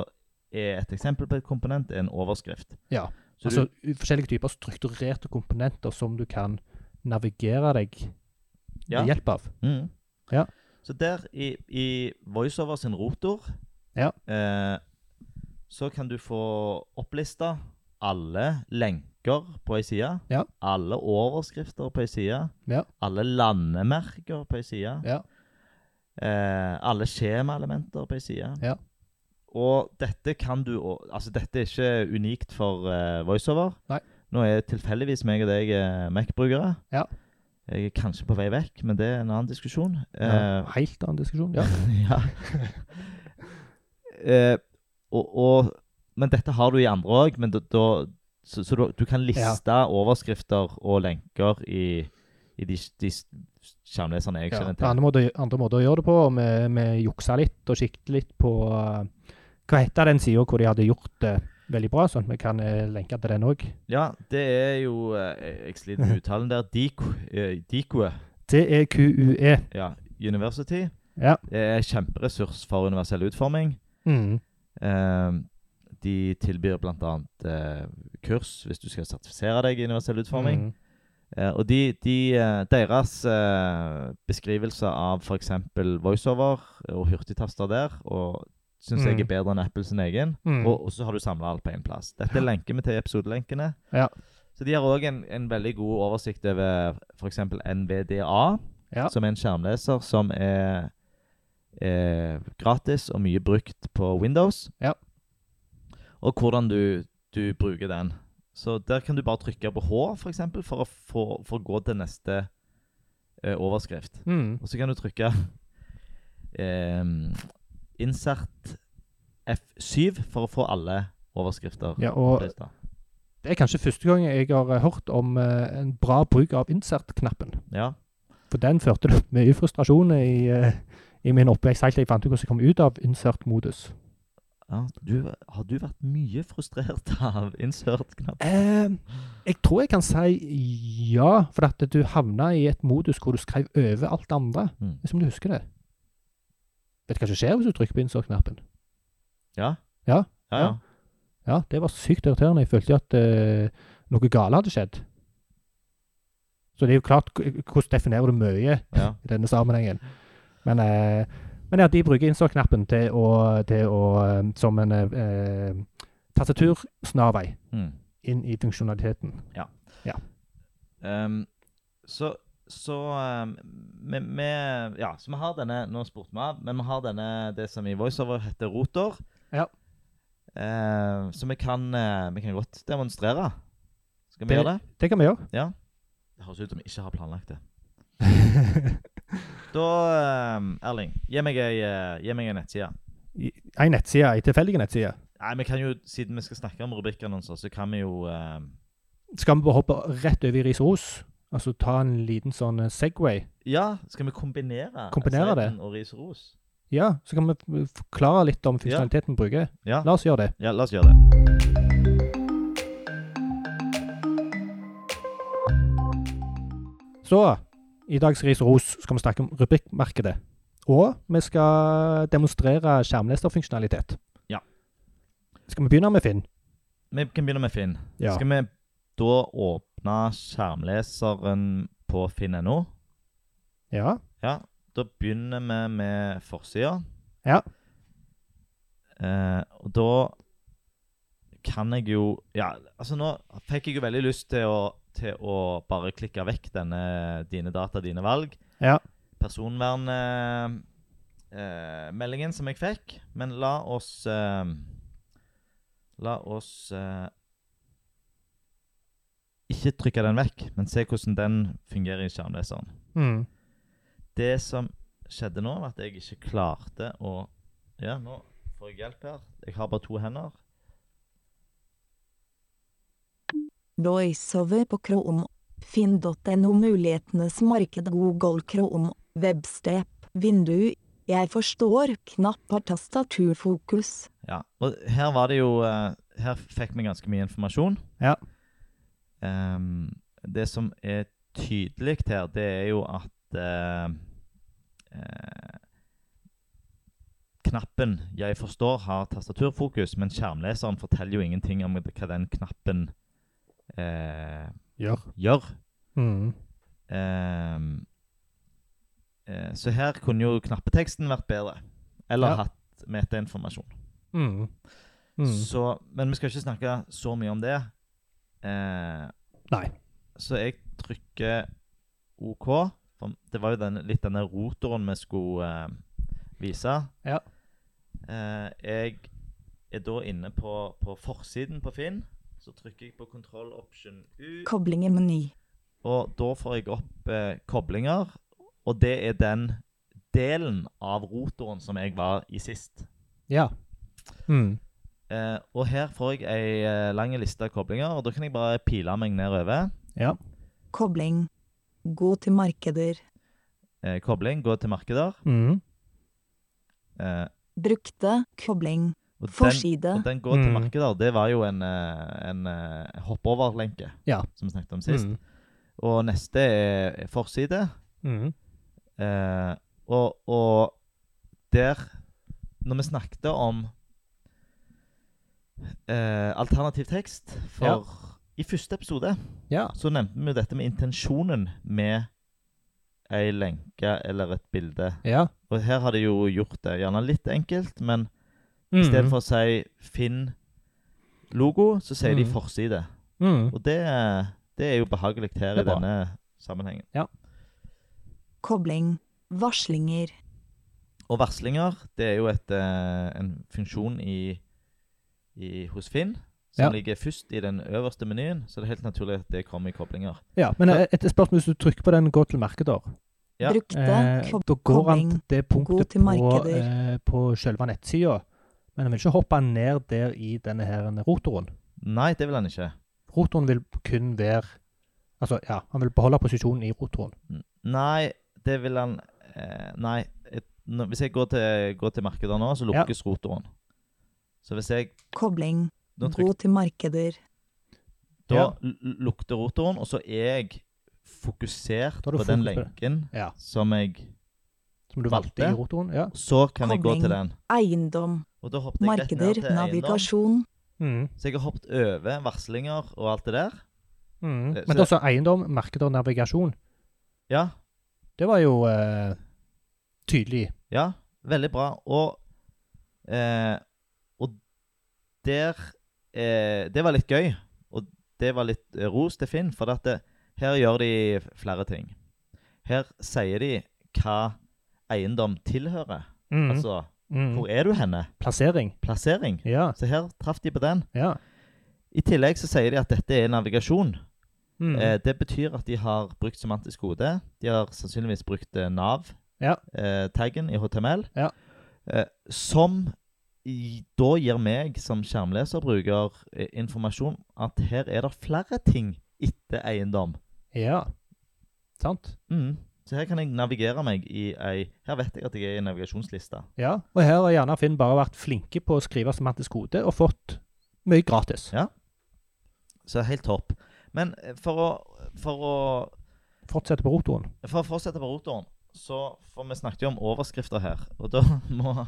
[SPEAKER 1] er et eksempel på et komponent en overskrift.
[SPEAKER 2] Ja,
[SPEAKER 1] Så
[SPEAKER 2] altså
[SPEAKER 1] du,
[SPEAKER 2] u- forskjellige typer strukturerte komponenter som du kan navigere deg
[SPEAKER 1] Ja.
[SPEAKER 2] ved hjelp av.
[SPEAKER 1] mm.
[SPEAKER 2] Ja.
[SPEAKER 1] Så der i, i voiceover sin rotor
[SPEAKER 2] Ja.
[SPEAKER 1] eh, så kan du få opplista alle lenker på ei side,
[SPEAKER 2] Ja.
[SPEAKER 1] alle overskrifter på ei side,
[SPEAKER 2] Ja.
[SPEAKER 1] alle landemerker på ei side.
[SPEAKER 2] Ja.
[SPEAKER 1] eh, alle skjemaelementer på ei side.
[SPEAKER 2] Ja.
[SPEAKER 1] Og dette kan du å- Altså, dette er ikke unikt for eh, voiceover.
[SPEAKER 2] Nei.
[SPEAKER 1] Nå er tilfeldigvis meg og deg eh, Mac-brukere.
[SPEAKER 2] Ja.
[SPEAKER 1] Jeg er kanskje på vei vekk, men det er en annen diskusjon.
[SPEAKER 2] Ja,
[SPEAKER 1] Eh,
[SPEAKER 2] helt annen diskusjon. Ja.
[SPEAKER 1] ja. eh, og, og Men dette har du i andre òg, men da, da Så, så du, du kan liste overskrifter og lenker i, i de, de skjermleserne jeg
[SPEAKER 2] Ja.
[SPEAKER 1] kjenner
[SPEAKER 2] Det er
[SPEAKER 1] til.
[SPEAKER 2] Andre, måter, andre måter å gjøre det på. og Vi, vi juksa litt og kikket litt på eh, Hva heter den sida hvor de hadde gjort det veldig bra? Sånn at vi kan eh, lenke til den òg.
[SPEAKER 1] Ja, det er jo eh, Jeg sliter med uttalen der. Diku- eh, Dikue,
[SPEAKER 2] E TEQUE.
[SPEAKER 1] ja. University.
[SPEAKER 2] Ja.
[SPEAKER 1] Det er kjemperessurs for universell utforming.
[SPEAKER 2] Mm.
[SPEAKER 1] Eh, de tilbyr bl.a. Eh, kurs hvis du skal sertifisere deg i universell utforming.
[SPEAKER 2] Mm.
[SPEAKER 1] Eh, og de, de, eh, deres eh, beskrivelse av f.eks. voiceover og hurtigtaster der og syns jeg
[SPEAKER 2] Mm.
[SPEAKER 1] er bedre enn Apple sin egen.
[SPEAKER 2] Mm.
[SPEAKER 1] Og, og så har du samla alt på én plass. Dette er lenker vi til i episodelenkene.
[SPEAKER 2] Ja.
[SPEAKER 1] Så de har òg en, en veldig god oversikt over f.eks. NVDA,
[SPEAKER 2] Ja.
[SPEAKER 1] som er en skjermleser som er, er gratis og mye brukt på Windows.
[SPEAKER 2] Ja.
[SPEAKER 1] Og hvordan du, du bruker den. Så der kan du bare trykke på H, f.eks., for, eksempel, for å få, for å gå til neste eh, overskrift.
[SPEAKER 2] Mm.
[SPEAKER 1] Og så kan du trykke ehm, insert F7 for å få alle overskrifter.
[SPEAKER 2] ja, og
[SPEAKER 1] opplista.
[SPEAKER 2] det er kanskje første gang jeg har eh, hørt om eh, en bra bruk av insert-knappen.
[SPEAKER 1] ja.
[SPEAKER 2] For den førte til mye frustrasjon i, eh, i min oppvekst, helt til jeg fant ut hvordan jeg kom ut av insert-modus.
[SPEAKER 1] ja du, har du vært mye frustrert av insert-knapp?
[SPEAKER 2] Eh, jeg tror jeg kan si ja, for at du havna i et modus hvor du skrev over alt det andre.
[SPEAKER 1] Mm.
[SPEAKER 2] Hvis om du husker det. Vet du hva som skjer hvis du trykker på insert-knappen?
[SPEAKER 1] Ja.
[SPEAKER 2] Ja,
[SPEAKER 1] Ja, ja.
[SPEAKER 2] Ja, det var sykt irriterende. Jeg følte at eh, noe gale hadde skjedd. Så det er jo klart k- hvordan definerer du mye
[SPEAKER 1] ja.
[SPEAKER 2] i denne sammenhengen. Men, eh, men ja, de bruker insert-knappen til å, til å eh, som en eh, eh, tastatursnarvei
[SPEAKER 1] Mm.
[SPEAKER 2] inn i funksjonaliteten.
[SPEAKER 1] Ehm, så så ehm, vi, vi Ja, så vi har denne Nå spurte vi av, men vi har denne det som i voiceover heter rotor.
[SPEAKER 2] Ja.
[SPEAKER 1] Ehm, så vi kan, eh, vi kan godt demonstrere. Skal vi
[SPEAKER 2] Det-
[SPEAKER 1] gjøre det?
[SPEAKER 2] Det kan vi gjøre.
[SPEAKER 1] Det høres ut som vi ikke har planlagt det. Da, ehm, Erling, gi meg ei eh, gi meg ei nettside.
[SPEAKER 2] Ei nettside, ei tilfeldig nettside.
[SPEAKER 1] Nei, vi kan jo, Siden vi skal snakke om rubrikkannonser, så kan vi jo ehm,
[SPEAKER 2] Skal vi bare hoppe rett over i ris og ros? Altså ta en liten sånn eh, Segway?
[SPEAKER 1] Ja, skal vi kombinere
[SPEAKER 2] Kombinere det?
[SPEAKER 1] Serien og ris og ros?
[SPEAKER 2] Ja, så kan vi f- forklare litt om funksjonaliteten vi bruker.
[SPEAKER 1] Ja.
[SPEAKER 2] La oss gjøre det.
[SPEAKER 1] Ja, la oss gjøre det.
[SPEAKER 2] Så, i dags ris og ros skal vi snakke om rubrikkmarkedet. Og vi skal demonstrere skjermleserfunksjonalitet.
[SPEAKER 1] Ja.
[SPEAKER 2] Skal vi begynne med Finn?
[SPEAKER 1] Vi kan begynne med Finn.
[SPEAKER 2] Ja.
[SPEAKER 1] Skal vi da åpne skjermleseren på finn.no?
[SPEAKER 2] Ja.
[SPEAKER 1] Ja, da begynner vi med forsida.
[SPEAKER 2] Ja.
[SPEAKER 1] Eh, og da kan jeg jo Ja, altså nå fikk jeg jo veldig lyst til å, til å bare klikke vekk denne dine data, dine valg.
[SPEAKER 2] Ja.
[SPEAKER 1] Personvernmeldingen eh, meldingen som jeg fikk. Men la oss eh, La oss eh, ikke trykke den vekk, men se hvordan den fungerer i skjermleseren.
[SPEAKER 2] Mm.
[SPEAKER 1] Det som skjedde nå, var at jeg ikke klarte å Ja, nå får jeg hjelp her. Jeg har bare to hender.
[SPEAKER 3] VoiceOver på Chrome. Finn.no Mulighetenes marked Google Chrome. Webstep. Vindu. Jeg forstår. Knapp har tastaturfokus.
[SPEAKER 1] Ja, og her var det jo eh, Her fikk vi ganske mye informasjon.
[SPEAKER 2] Ja.
[SPEAKER 1] Ehm, det som er tydelig her, det er jo at eh, eh, Knappen 'Jeg forstår' har tastaturfokus, men skjermleseren forteller jo ingenting om hva den knappen eh,
[SPEAKER 2] Gjør.
[SPEAKER 1] gjør.
[SPEAKER 2] Mm.
[SPEAKER 1] Ehm, eh, så her kunne jo knappeteksten vært bedre. Eller
[SPEAKER 2] Ja.
[SPEAKER 1] hatt metainformasjon.
[SPEAKER 2] Mm. Mm.
[SPEAKER 1] Så- Men vi skal ikke snakke så mye om det. Eh,
[SPEAKER 2] Nei.
[SPEAKER 1] så jeg trykker OK. For det var jo den, litt denne rotoren vi skulle eh, vise.
[SPEAKER 2] Ja.
[SPEAKER 1] Eh, jeg er da inne på, på forsiden på Finn. Så trykker jeg på kontroll option U.
[SPEAKER 3] Kobling i meny.
[SPEAKER 1] Og da får jeg opp eh, koblinger, og det er den delen av rotoren som jeg var i sist.
[SPEAKER 2] Ja. Mm.
[SPEAKER 1] Eh, og her får jeg ei eh, lang liste av koblinger, og da kan jeg bare pile meg nedover.
[SPEAKER 2] Ja.
[SPEAKER 3] Kobling. Gå til markeder.
[SPEAKER 1] Eh, kobling, gå til markeder.
[SPEAKER 2] Mm.
[SPEAKER 1] Eh,
[SPEAKER 3] Brukte. Kobling.
[SPEAKER 1] og den,
[SPEAKER 3] Forside.
[SPEAKER 1] og den gå til
[SPEAKER 2] Mm.
[SPEAKER 1] markeder, det var jo en, eh, en eh, hoppoverlenke,
[SPEAKER 2] Ja.
[SPEAKER 1] som vi snakket om sist.
[SPEAKER 2] Mm.
[SPEAKER 1] Og neste er er forside.
[SPEAKER 2] Mm.
[SPEAKER 1] Eh, og, og der Når vi snakket om eh, alternativ tekst for
[SPEAKER 2] Ja.
[SPEAKER 1] I første episode
[SPEAKER 2] Ja.
[SPEAKER 1] så nevnte vi jo dette med intensjonen med ei lenke eller et bilde.
[SPEAKER 2] Ja.
[SPEAKER 1] Og her har de jo gjort det gjerne litt enkelt, men
[SPEAKER 2] Mm.
[SPEAKER 1] i stedet for å si 'finn logo', så sier de
[SPEAKER 2] Mm.
[SPEAKER 1] 'forside'.
[SPEAKER 2] mm.
[SPEAKER 1] Og det, det er jo behagelig her
[SPEAKER 2] Det er
[SPEAKER 1] i
[SPEAKER 2] bra.
[SPEAKER 1] denne sammenhengen.
[SPEAKER 3] Kobling. Varslinger.
[SPEAKER 1] Og varslinger, det er jo et, eh, en funksjon i, i, hos Finn som
[SPEAKER 2] Ja.
[SPEAKER 1] ligger først i den øverste menyen, så det er helt naturlig at det kommer i koblinger.
[SPEAKER 2] ja. Men eh, et spørsmål hvis du trykker på den 'gå til markeder',
[SPEAKER 1] Ja.
[SPEAKER 3] Brukte.
[SPEAKER 2] eh,
[SPEAKER 3] Kob-
[SPEAKER 2] da går han
[SPEAKER 3] kobling.
[SPEAKER 2] til det punktet
[SPEAKER 3] til
[SPEAKER 2] på,
[SPEAKER 3] markeder.
[SPEAKER 2] eh, på selve nettsida. Men han vil ikke hoppe ned der i denne her rotoren.
[SPEAKER 1] Nei, det vil han ikke.
[SPEAKER 2] Rotoren vil kun være Altså, ja, han vil beholde posisjonen i rotoren.
[SPEAKER 1] N- Nei, det vil han eh, Nei. Et, nå, hvis jeg går til, går til markedet nå, så
[SPEAKER 2] Ja.
[SPEAKER 1] lukkes rotoren. Så hvis jeg
[SPEAKER 3] Kobling.
[SPEAKER 1] Nå
[SPEAKER 3] Gå
[SPEAKER 1] trykker
[SPEAKER 3] til markeder.
[SPEAKER 1] Da
[SPEAKER 2] Ja.
[SPEAKER 1] l- lukter rotoren, og så er jeg fokusert
[SPEAKER 2] Da er du
[SPEAKER 1] på den
[SPEAKER 2] fokus på det.
[SPEAKER 1] lenken
[SPEAKER 2] Ja.
[SPEAKER 1] som jeg
[SPEAKER 2] Som du valgte i
[SPEAKER 1] Valgte.
[SPEAKER 2] rotoren. Ja.
[SPEAKER 1] Så kan jeg gå
[SPEAKER 3] Kobling.
[SPEAKER 1] til den.
[SPEAKER 3] Eiendom.
[SPEAKER 1] Og da hoppet jeg rett ned
[SPEAKER 3] Markeder.
[SPEAKER 1] til eiendom.
[SPEAKER 3] Navigasjon.
[SPEAKER 2] Mm.
[SPEAKER 1] Så jeg har hoppet over varslinger og alt det der.
[SPEAKER 2] Mm. Men
[SPEAKER 1] Eh, så-
[SPEAKER 2] det er også eiendom, markeder og navigasjon.
[SPEAKER 1] Ja,
[SPEAKER 2] Det var jo eh, tydelig.
[SPEAKER 1] ja, veldig bra. Og, eh, og der eh, Det var litt gøy. Og det var litt eh, ros til Finn, for at det, her gjør de flere ting. Her sier de hva eiendom tilhører.
[SPEAKER 2] Mm.
[SPEAKER 1] Altså
[SPEAKER 2] mm.
[SPEAKER 1] hvor er du henne?
[SPEAKER 2] Plassering.
[SPEAKER 1] Plassering.
[SPEAKER 2] Ja.
[SPEAKER 1] Så her traff de på den.
[SPEAKER 2] ja.
[SPEAKER 1] I tillegg så sier de at dette er navigasjon.
[SPEAKER 2] Mm.
[SPEAKER 1] Eh, det betyr at de har brukt semantisk kode. De har sannsynligvis brukt eh,
[SPEAKER 2] Ja.
[SPEAKER 1] Nav-taggen i HTML.
[SPEAKER 2] Ja.
[SPEAKER 1] Eh, som i, da gir meg som skjermleserbruker eh, informasjon at her er det flere ting etter eiendom.
[SPEAKER 2] ja. Sant.
[SPEAKER 1] Mm. Så her kan jeg navigere meg i ei Her vet jeg at jeg er i en navigasjonsliste.
[SPEAKER 2] Ja. Og her har gjerne Finn bare vært flinke på å skrive semantisk kode og fått mye gratis.
[SPEAKER 1] Ja. Så helt topp. Men eh, for å, for å
[SPEAKER 2] Fortsette på rotoren.
[SPEAKER 1] For å fortsette på rotoren Så, for vi snakket jo om overskrifter her, og da må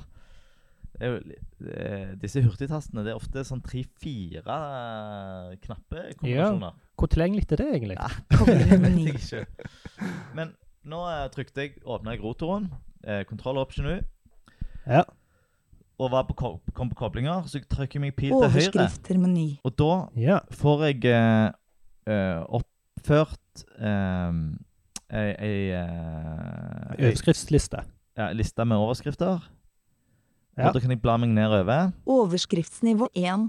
[SPEAKER 1] det er jo, li- eh, Disse hurtigtastene det er ofte sånn tre-fire eh, knappekombinasjoner.
[SPEAKER 2] Hvor tilgjengelig er det egentlig?
[SPEAKER 1] Det
[SPEAKER 3] Kongen
[SPEAKER 1] vet
[SPEAKER 3] i
[SPEAKER 1] jeg ikke. Men nå eh, trykte jeg, åpna jeg rotoren, eh, kontroll option U,
[SPEAKER 4] Ja.
[SPEAKER 1] og var på, ko- kom på koblinger. Så jeg trykker jeg meg pil til høyre,
[SPEAKER 3] Overskrifter meny.
[SPEAKER 1] og da
[SPEAKER 4] ja.
[SPEAKER 1] får jeg eh, eh, oppført eh, ei, ei, eh, ei
[SPEAKER 2] Overskriftsliste.
[SPEAKER 1] ja, liste med overskrifter.
[SPEAKER 4] Ja.
[SPEAKER 1] Og da kan jeg bla meg nedover.
[SPEAKER 3] Overskriftsnivå 1.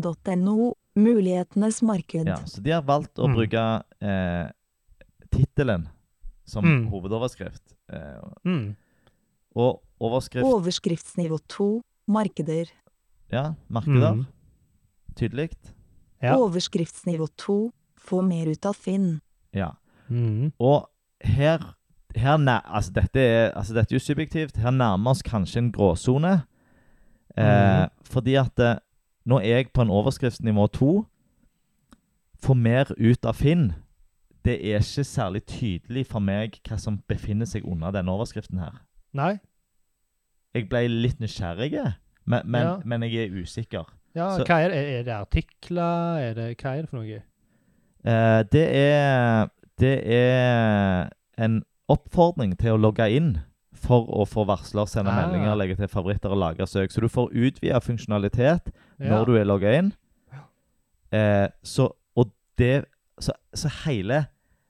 [SPEAKER 3] Finn.no. Mulighetenes marked.
[SPEAKER 1] Ja, så de har valgt å
[SPEAKER 4] Mm.
[SPEAKER 1] bruke eh, tittelen som
[SPEAKER 4] Mm.
[SPEAKER 1] hovedoverskrift. Eh,
[SPEAKER 2] Mm.
[SPEAKER 1] og overskrift
[SPEAKER 3] Overskriftsnivå 2. Markeder.
[SPEAKER 1] Ja, markeder.
[SPEAKER 4] Mm.
[SPEAKER 1] Tydelig.
[SPEAKER 4] Ja.
[SPEAKER 3] Overskriftsnivå 2. Få mer ut av Finn.
[SPEAKER 1] Ja.
[SPEAKER 2] Mm.
[SPEAKER 1] Og her, her nær, altså, dette er, altså dette er jo subjektivt. Her nærmer oss kanskje en gråsone. Eh, Fordi at eh, nå er jeg på en overskriftsnivå to. Få mer ut av Finn. Det er ikke særlig tydelig for meg hva som befinner seg under denne overskriften her.
[SPEAKER 2] Nei?
[SPEAKER 1] Jeg ble litt nysgjerrig, men, men,
[SPEAKER 2] Ja.
[SPEAKER 1] men jeg er usikker.
[SPEAKER 2] Ja,
[SPEAKER 1] Så-
[SPEAKER 2] hva er, det? er det artikler? Er det, hva er det for noe?
[SPEAKER 1] Eh, det er Det er en oppfordring til å logge inn for å få varsler, sende
[SPEAKER 2] Ah.
[SPEAKER 1] meldinger, legge til favoritter og lage søk. Så du får utvida funksjonalitet når du er logga inn. Eh, så, og det, så, så hele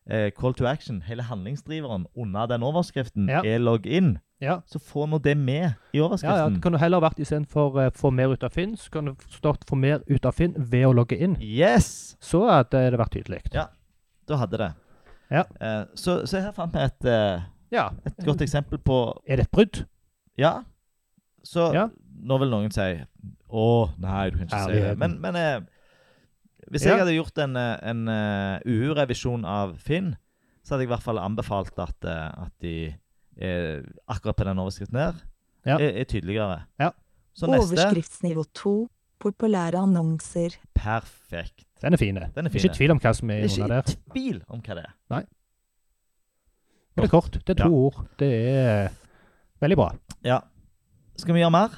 [SPEAKER 1] eh, call to action, hele handlingsdriveren under den overskriften,
[SPEAKER 2] Ja.
[SPEAKER 1] er logg inn.
[SPEAKER 2] Ja.
[SPEAKER 1] Så få nå det med i
[SPEAKER 2] Ja, ja,
[SPEAKER 1] overskriften.
[SPEAKER 2] det kan du heller vært istedenfor uh, 'få mer ut av Finn', så kan du stått 'få mer ut av Finn' ved å logge inn.
[SPEAKER 1] Yes!
[SPEAKER 2] Så hadde det vært tydelig.
[SPEAKER 1] Ja. Da hadde det.
[SPEAKER 2] Ja.
[SPEAKER 1] Eh, så, så her fant vi et, eh,
[SPEAKER 2] Ja.
[SPEAKER 1] et godt eksempel på
[SPEAKER 2] Er det et brudd?
[SPEAKER 1] Ja. Så
[SPEAKER 2] Ja.
[SPEAKER 1] nå vil noen si Å, nei, du kan ikke si det.
[SPEAKER 2] Ærligheten.
[SPEAKER 1] Men, men eh, hvis
[SPEAKER 2] Ja.
[SPEAKER 1] jeg hadde gjort en, eh, en eh, UU-revisjon av Finn, så hadde jeg i hvert fall anbefalt at, eh, at de eh, akkurat på den overskriften her
[SPEAKER 2] Ja.
[SPEAKER 1] er, er tydeligere.
[SPEAKER 2] Ja.
[SPEAKER 1] Så neste
[SPEAKER 3] Overskriftsnivå 2. Populære annonser.
[SPEAKER 1] Perfekt.
[SPEAKER 2] Den er fin.
[SPEAKER 1] Den er fin,
[SPEAKER 2] Ikke tvil om hva som
[SPEAKER 1] Det
[SPEAKER 2] er
[SPEAKER 1] er
[SPEAKER 2] under der.
[SPEAKER 1] ikke i tvil om hva det er.
[SPEAKER 2] Det er kort. Det er to ord. Det er veldig bra.
[SPEAKER 1] Ja. Skal vi gjøre mer?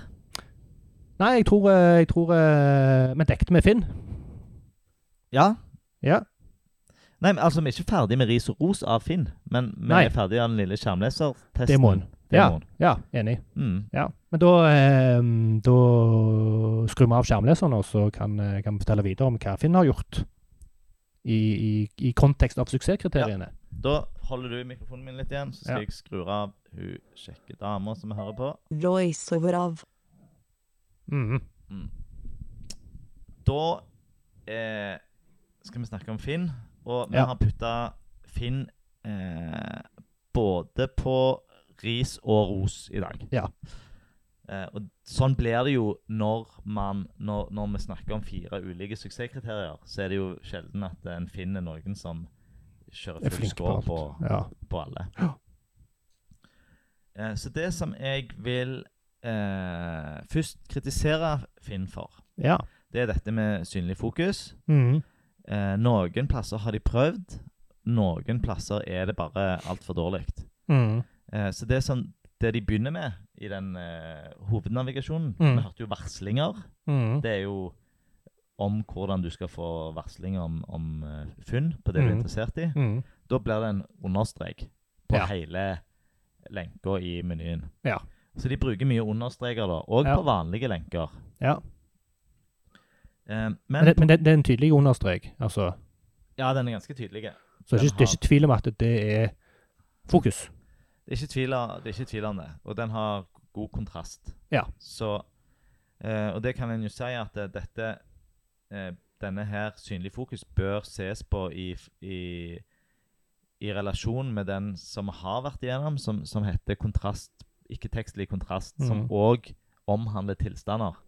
[SPEAKER 2] Nei, jeg tror, eh, jeg tror eh, Vi dekket med Finn.
[SPEAKER 1] Ja.
[SPEAKER 2] Ja.
[SPEAKER 1] Nei, men altså, vi er ikke ferdig med ris og ros av Finn, men vi
[SPEAKER 2] Nei.
[SPEAKER 1] er ferdig av den lille skjermlesertesten.
[SPEAKER 2] Demoen.
[SPEAKER 1] Det må en.
[SPEAKER 2] Ja, enig.
[SPEAKER 1] Mm.
[SPEAKER 2] Ja. Men da, eh, da skrur vi av skjermleseren, og så kan, eh, kan vi fortelle videre om hva Finn har gjort. I, i, i kontekst av suksesskriteriene.
[SPEAKER 1] Da holder du mikrofonen min litt igjen, så skal
[SPEAKER 2] Ja.
[SPEAKER 1] jeg skru av hun kjekke dama som vi hører på.
[SPEAKER 3] Voiceover av.
[SPEAKER 2] Mhm.
[SPEAKER 1] Da eh, skal vi snakke om Finn, og vi
[SPEAKER 2] Ja.
[SPEAKER 1] har putta Finn eh, både på ris og ros i dag.
[SPEAKER 2] Ja.
[SPEAKER 1] Eh, og sånn blir det jo når man når, når vi snakker om fire ulike suksesskriterier, så er det jo sjelden at en finner noen som
[SPEAKER 2] Jeg
[SPEAKER 1] kjører
[SPEAKER 2] er
[SPEAKER 1] full
[SPEAKER 2] flink på
[SPEAKER 1] score
[SPEAKER 2] alt.
[SPEAKER 1] på,
[SPEAKER 2] Ja.
[SPEAKER 1] på alle.
[SPEAKER 2] Ja.
[SPEAKER 1] Eh, Så det som jeg vil eh, først kritisere Finn for,
[SPEAKER 2] ja.
[SPEAKER 1] det er dette med synlig fokus.
[SPEAKER 2] Mhm.
[SPEAKER 1] Eh, noen plasser har de prøvd, noen plasser er det bare altfor dårlig.
[SPEAKER 2] Mhm.
[SPEAKER 1] Eh, så det, som, det de begynner med i den eh, hovednavigasjonen
[SPEAKER 2] Mm.
[SPEAKER 1] Vi hørte jo varslinger.
[SPEAKER 2] Mhm.
[SPEAKER 1] Det er jo om hvordan du skal få varsling om, om eh, funn på det du er
[SPEAKER 2] Mm.
[SPEAKER 1] interessert i.
[SPEAKER 2] Mhm.
[SPEAKER 1] Da blir det en understrek på
[SPEAKER 2] Ja.
[SPEAKER 1] hele lenka i menyen.
[SPEAKER 2] Ja.
[SPEAKER 1] Så de bruker mye understreker da, og
[SPEAKER 2] Ja.
[SPEAKER 1] på vanlige lenker.
[SPEAKER 2] ja.
[SPEAKER 1] Eh,
[SPEAKER 2] Men,
[SPEAKER 1] men
[SPEAKER 2] det, men det, det er en tydelig understrek. Altså.
[SPEAKER 1] ja, den er ganske tydelig.
[SPEAKER 2] Så det
[SPEAKER 1] Den
[SPEAKER 2] er, ikke, det er ikke tvil om at det er fokus.
[SPEAKER 1] Det er ikke tvil, av- det er ikke tvil om det, og den har god kontrast.
[SPEAKER 2] Ja.
[SPEAKER 1] Så, eh, og det kan en jo si at eh, dette, eh, denne her synlig fokus bør ses på i, f- i, i relasjon med den som vi har vært igjennom, som, som heter kontrast, ikke-tekstlig kontrast, som
[SPEAKER 2] Mhm.
[SPEAKER 1] òg omhandler tilstander.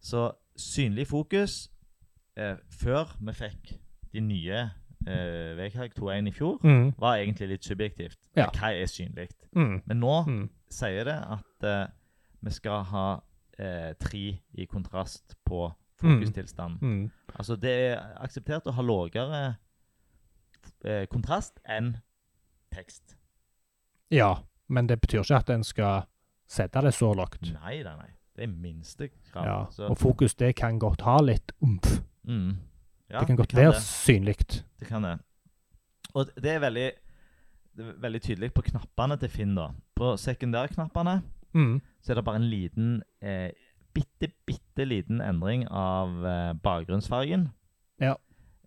[SPEAKER 1] Så synlig fokus eh, før vi fikk de nye eh, VKG 2.1 i fjor,
[SPEAKER 2] Mhm.
[SPEAKER 1] var egentlig litt subjektivt.
[SPEAKER 2] Ja.
[SPEAKER 1] Hva er synlig?
[SPEAKER 2] Mhm.
[SPEAKER 1] Men nå
[SPEAKER 2] Mhm.
[SPEAKER 1] sier det at eh, vi skal ha eh, tre i kontrast på fokustilstand.
[SPEAKER 2] Mhm.
[SPEAKER 1] Altså det er akseptert å ha lavere eh, kontrast enn tekst.
[SPEAKER 2] Ja, men det betyr ikke at en skal sette det så lavt.
[SPEAKER 1] Nei, nei, nei. Det er minste krav.
[SPEAKER 2] Mm. Ja,
[SPEAKER 1] så-
[SPEAKER 2] og fokus det kan godt ha litt umf.
[SPEAKER 1] mm. Ja,
[SPEAKER 2] det kan godt være
[SPEAKER 1] det.
[SPEAKER 2] synlig.
[SPEAKER 1] Det kan det. Og det er veldig, det er veldig tydelig på knappene til Finn, da. På sekundærknappene
[SPEAKER 2] Mm.
[SPEAKER 1] så er det bare en liten, eh, bitte, bitte liten endring av eh, bakgrunnsfargen.
[SPEAKER 2] Ja.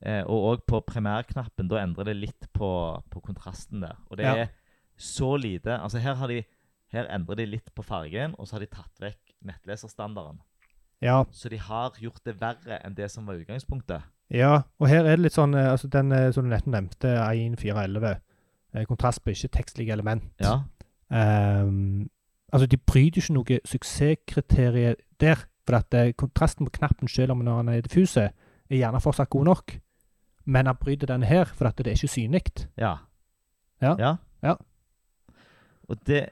[SPEAKER 1] Eh, og òg på primærknappen. Da endrer det litt på, på kontrasten der. Og det
[SPEAKER 2] Ja.
[SPEAKER 1] er så lite Altså, her, har de, her endrer de litt på fargen, og så har de tatt vekk nettleserstandarden.
[SPEAKER 2] Ja,
[SPEAKER 1] Så de har gjort det verre enn det som var utgangspunktet.
[SPEAKER 2] ja, og her er det litt sånn eh, altså den eh, som du nettopp nevnte, 1411. eh, Kontrast blir ikke tekstlig element.
[SPEAKER 1] Ja.
[SPEAKER 2] Ehm, altså, de bryter ikke noe suksesskriterium der. For at eh, kontrasten på knappen, selv om når han er diffus, er gjerne fortsatt god nok. Men han bryter den her, for at det er ikke synlig.
[SPEAKER 1] Ja.
[SPEAKER 2] Ja.
[SPEAKER 1] Ja.
[SPEAKER 2] Ja.
[SPEAKER 1] Og det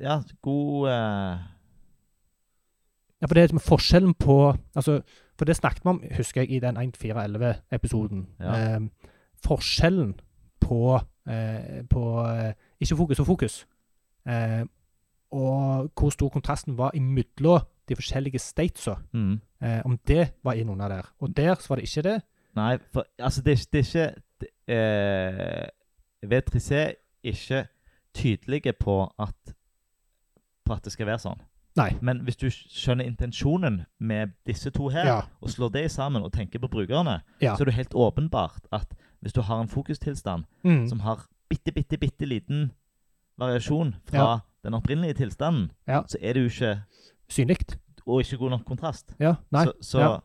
[SPEAKER 1] Ja, god eh,
[SPEAKER 2] Ja, for det er liksom forskjellen på altså, For det snakket vi om, husker jeg, i den 1411-episoden.
[SPEAKER 1] Ja.
[SPEAKER 2] Eh, forskjellen på, eh, på eh, ikke fokus og fokus, eh, og hvor stor kontrasten var imellom de forskjellige statesa.
[SPEAKER 1] mm.
[SPEAKER 2] Eh, om det var innunder der. Og der så var det ikke det.
[SPEAKER 1] Nei, for altså, det er, ikke- det er ikke det, eh, V3C er ikke tydelige på at på at det skal være sånn.
[SPEAKER 2] Nei.
[SPEAKER 1] Men hvis du skjønner intensjonen med disse to her,
[SPEAKER 2] Ja.
[SPEAKER 1] og slår det sammen og tenker på brukerne,
[SPEAKER 2] Ja.
[SPEAKER 1] så er det helt åpenbart at hvis du har en fokustilstand
[SPEAKER 2] Mm.
[SPEAKER 1] som har bitte, bitte, bitte liten variasjon fra
[SPEAKER 2] Ja.
[SPEAKER 1] den opprinnelige tilstanden,
[SPEAKER 2] Ja.
[SPEAKER 1] så er det jo ikke
[SPEAKER 2] Synlig.
[SPEAKER 1] Og ikke god nok kontrast.
[SPEAKER 2] Ja. Nei.
[SPEAKER 1] Så, så,
[SPEAKER 2] Ja.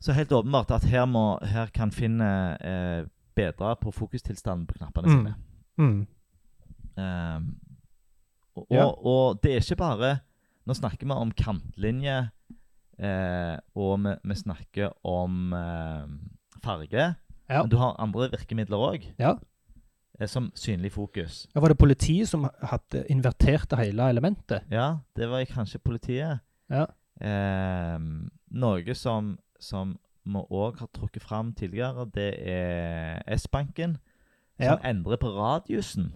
[SPEAKER 1] så helt åpenbart at her, må, her kan Finn eh, bedre på fokustilstanden på knappene
[SPEAKER 2] Mm.
[SPEAKER 1] sine.
[SPEAKER 2] Mm.
[SPEAKER 1] Ehm, og,
[SPEAKER 2] Ja.
[SPEAKER 1] og, og det er ikke bare Nå snakker vi om kantlinje, eh, og vi, vi snakker om eh, farge.
[SPEAKER 2] Ja.
[SPEAKER 1] Men du har andre virkemidler òg,
[SPEAKER 2] Ja.
[SPEAKER 1] eh, som synlig fokus.
[SPEAKER 2] ja. Var det politiet som hadde invertert det hele elementet?
[SPEAKER 1] Ja, det var kanskje politiet.
[SPEAKER 2] Ja.
[SPEAKER 1] Eh, noe som, som vi òg har trukket fram tidligere, det er S-banken, som
[SPEAKER 2] Ja.
[SPEAKER 1] endrer på radiusen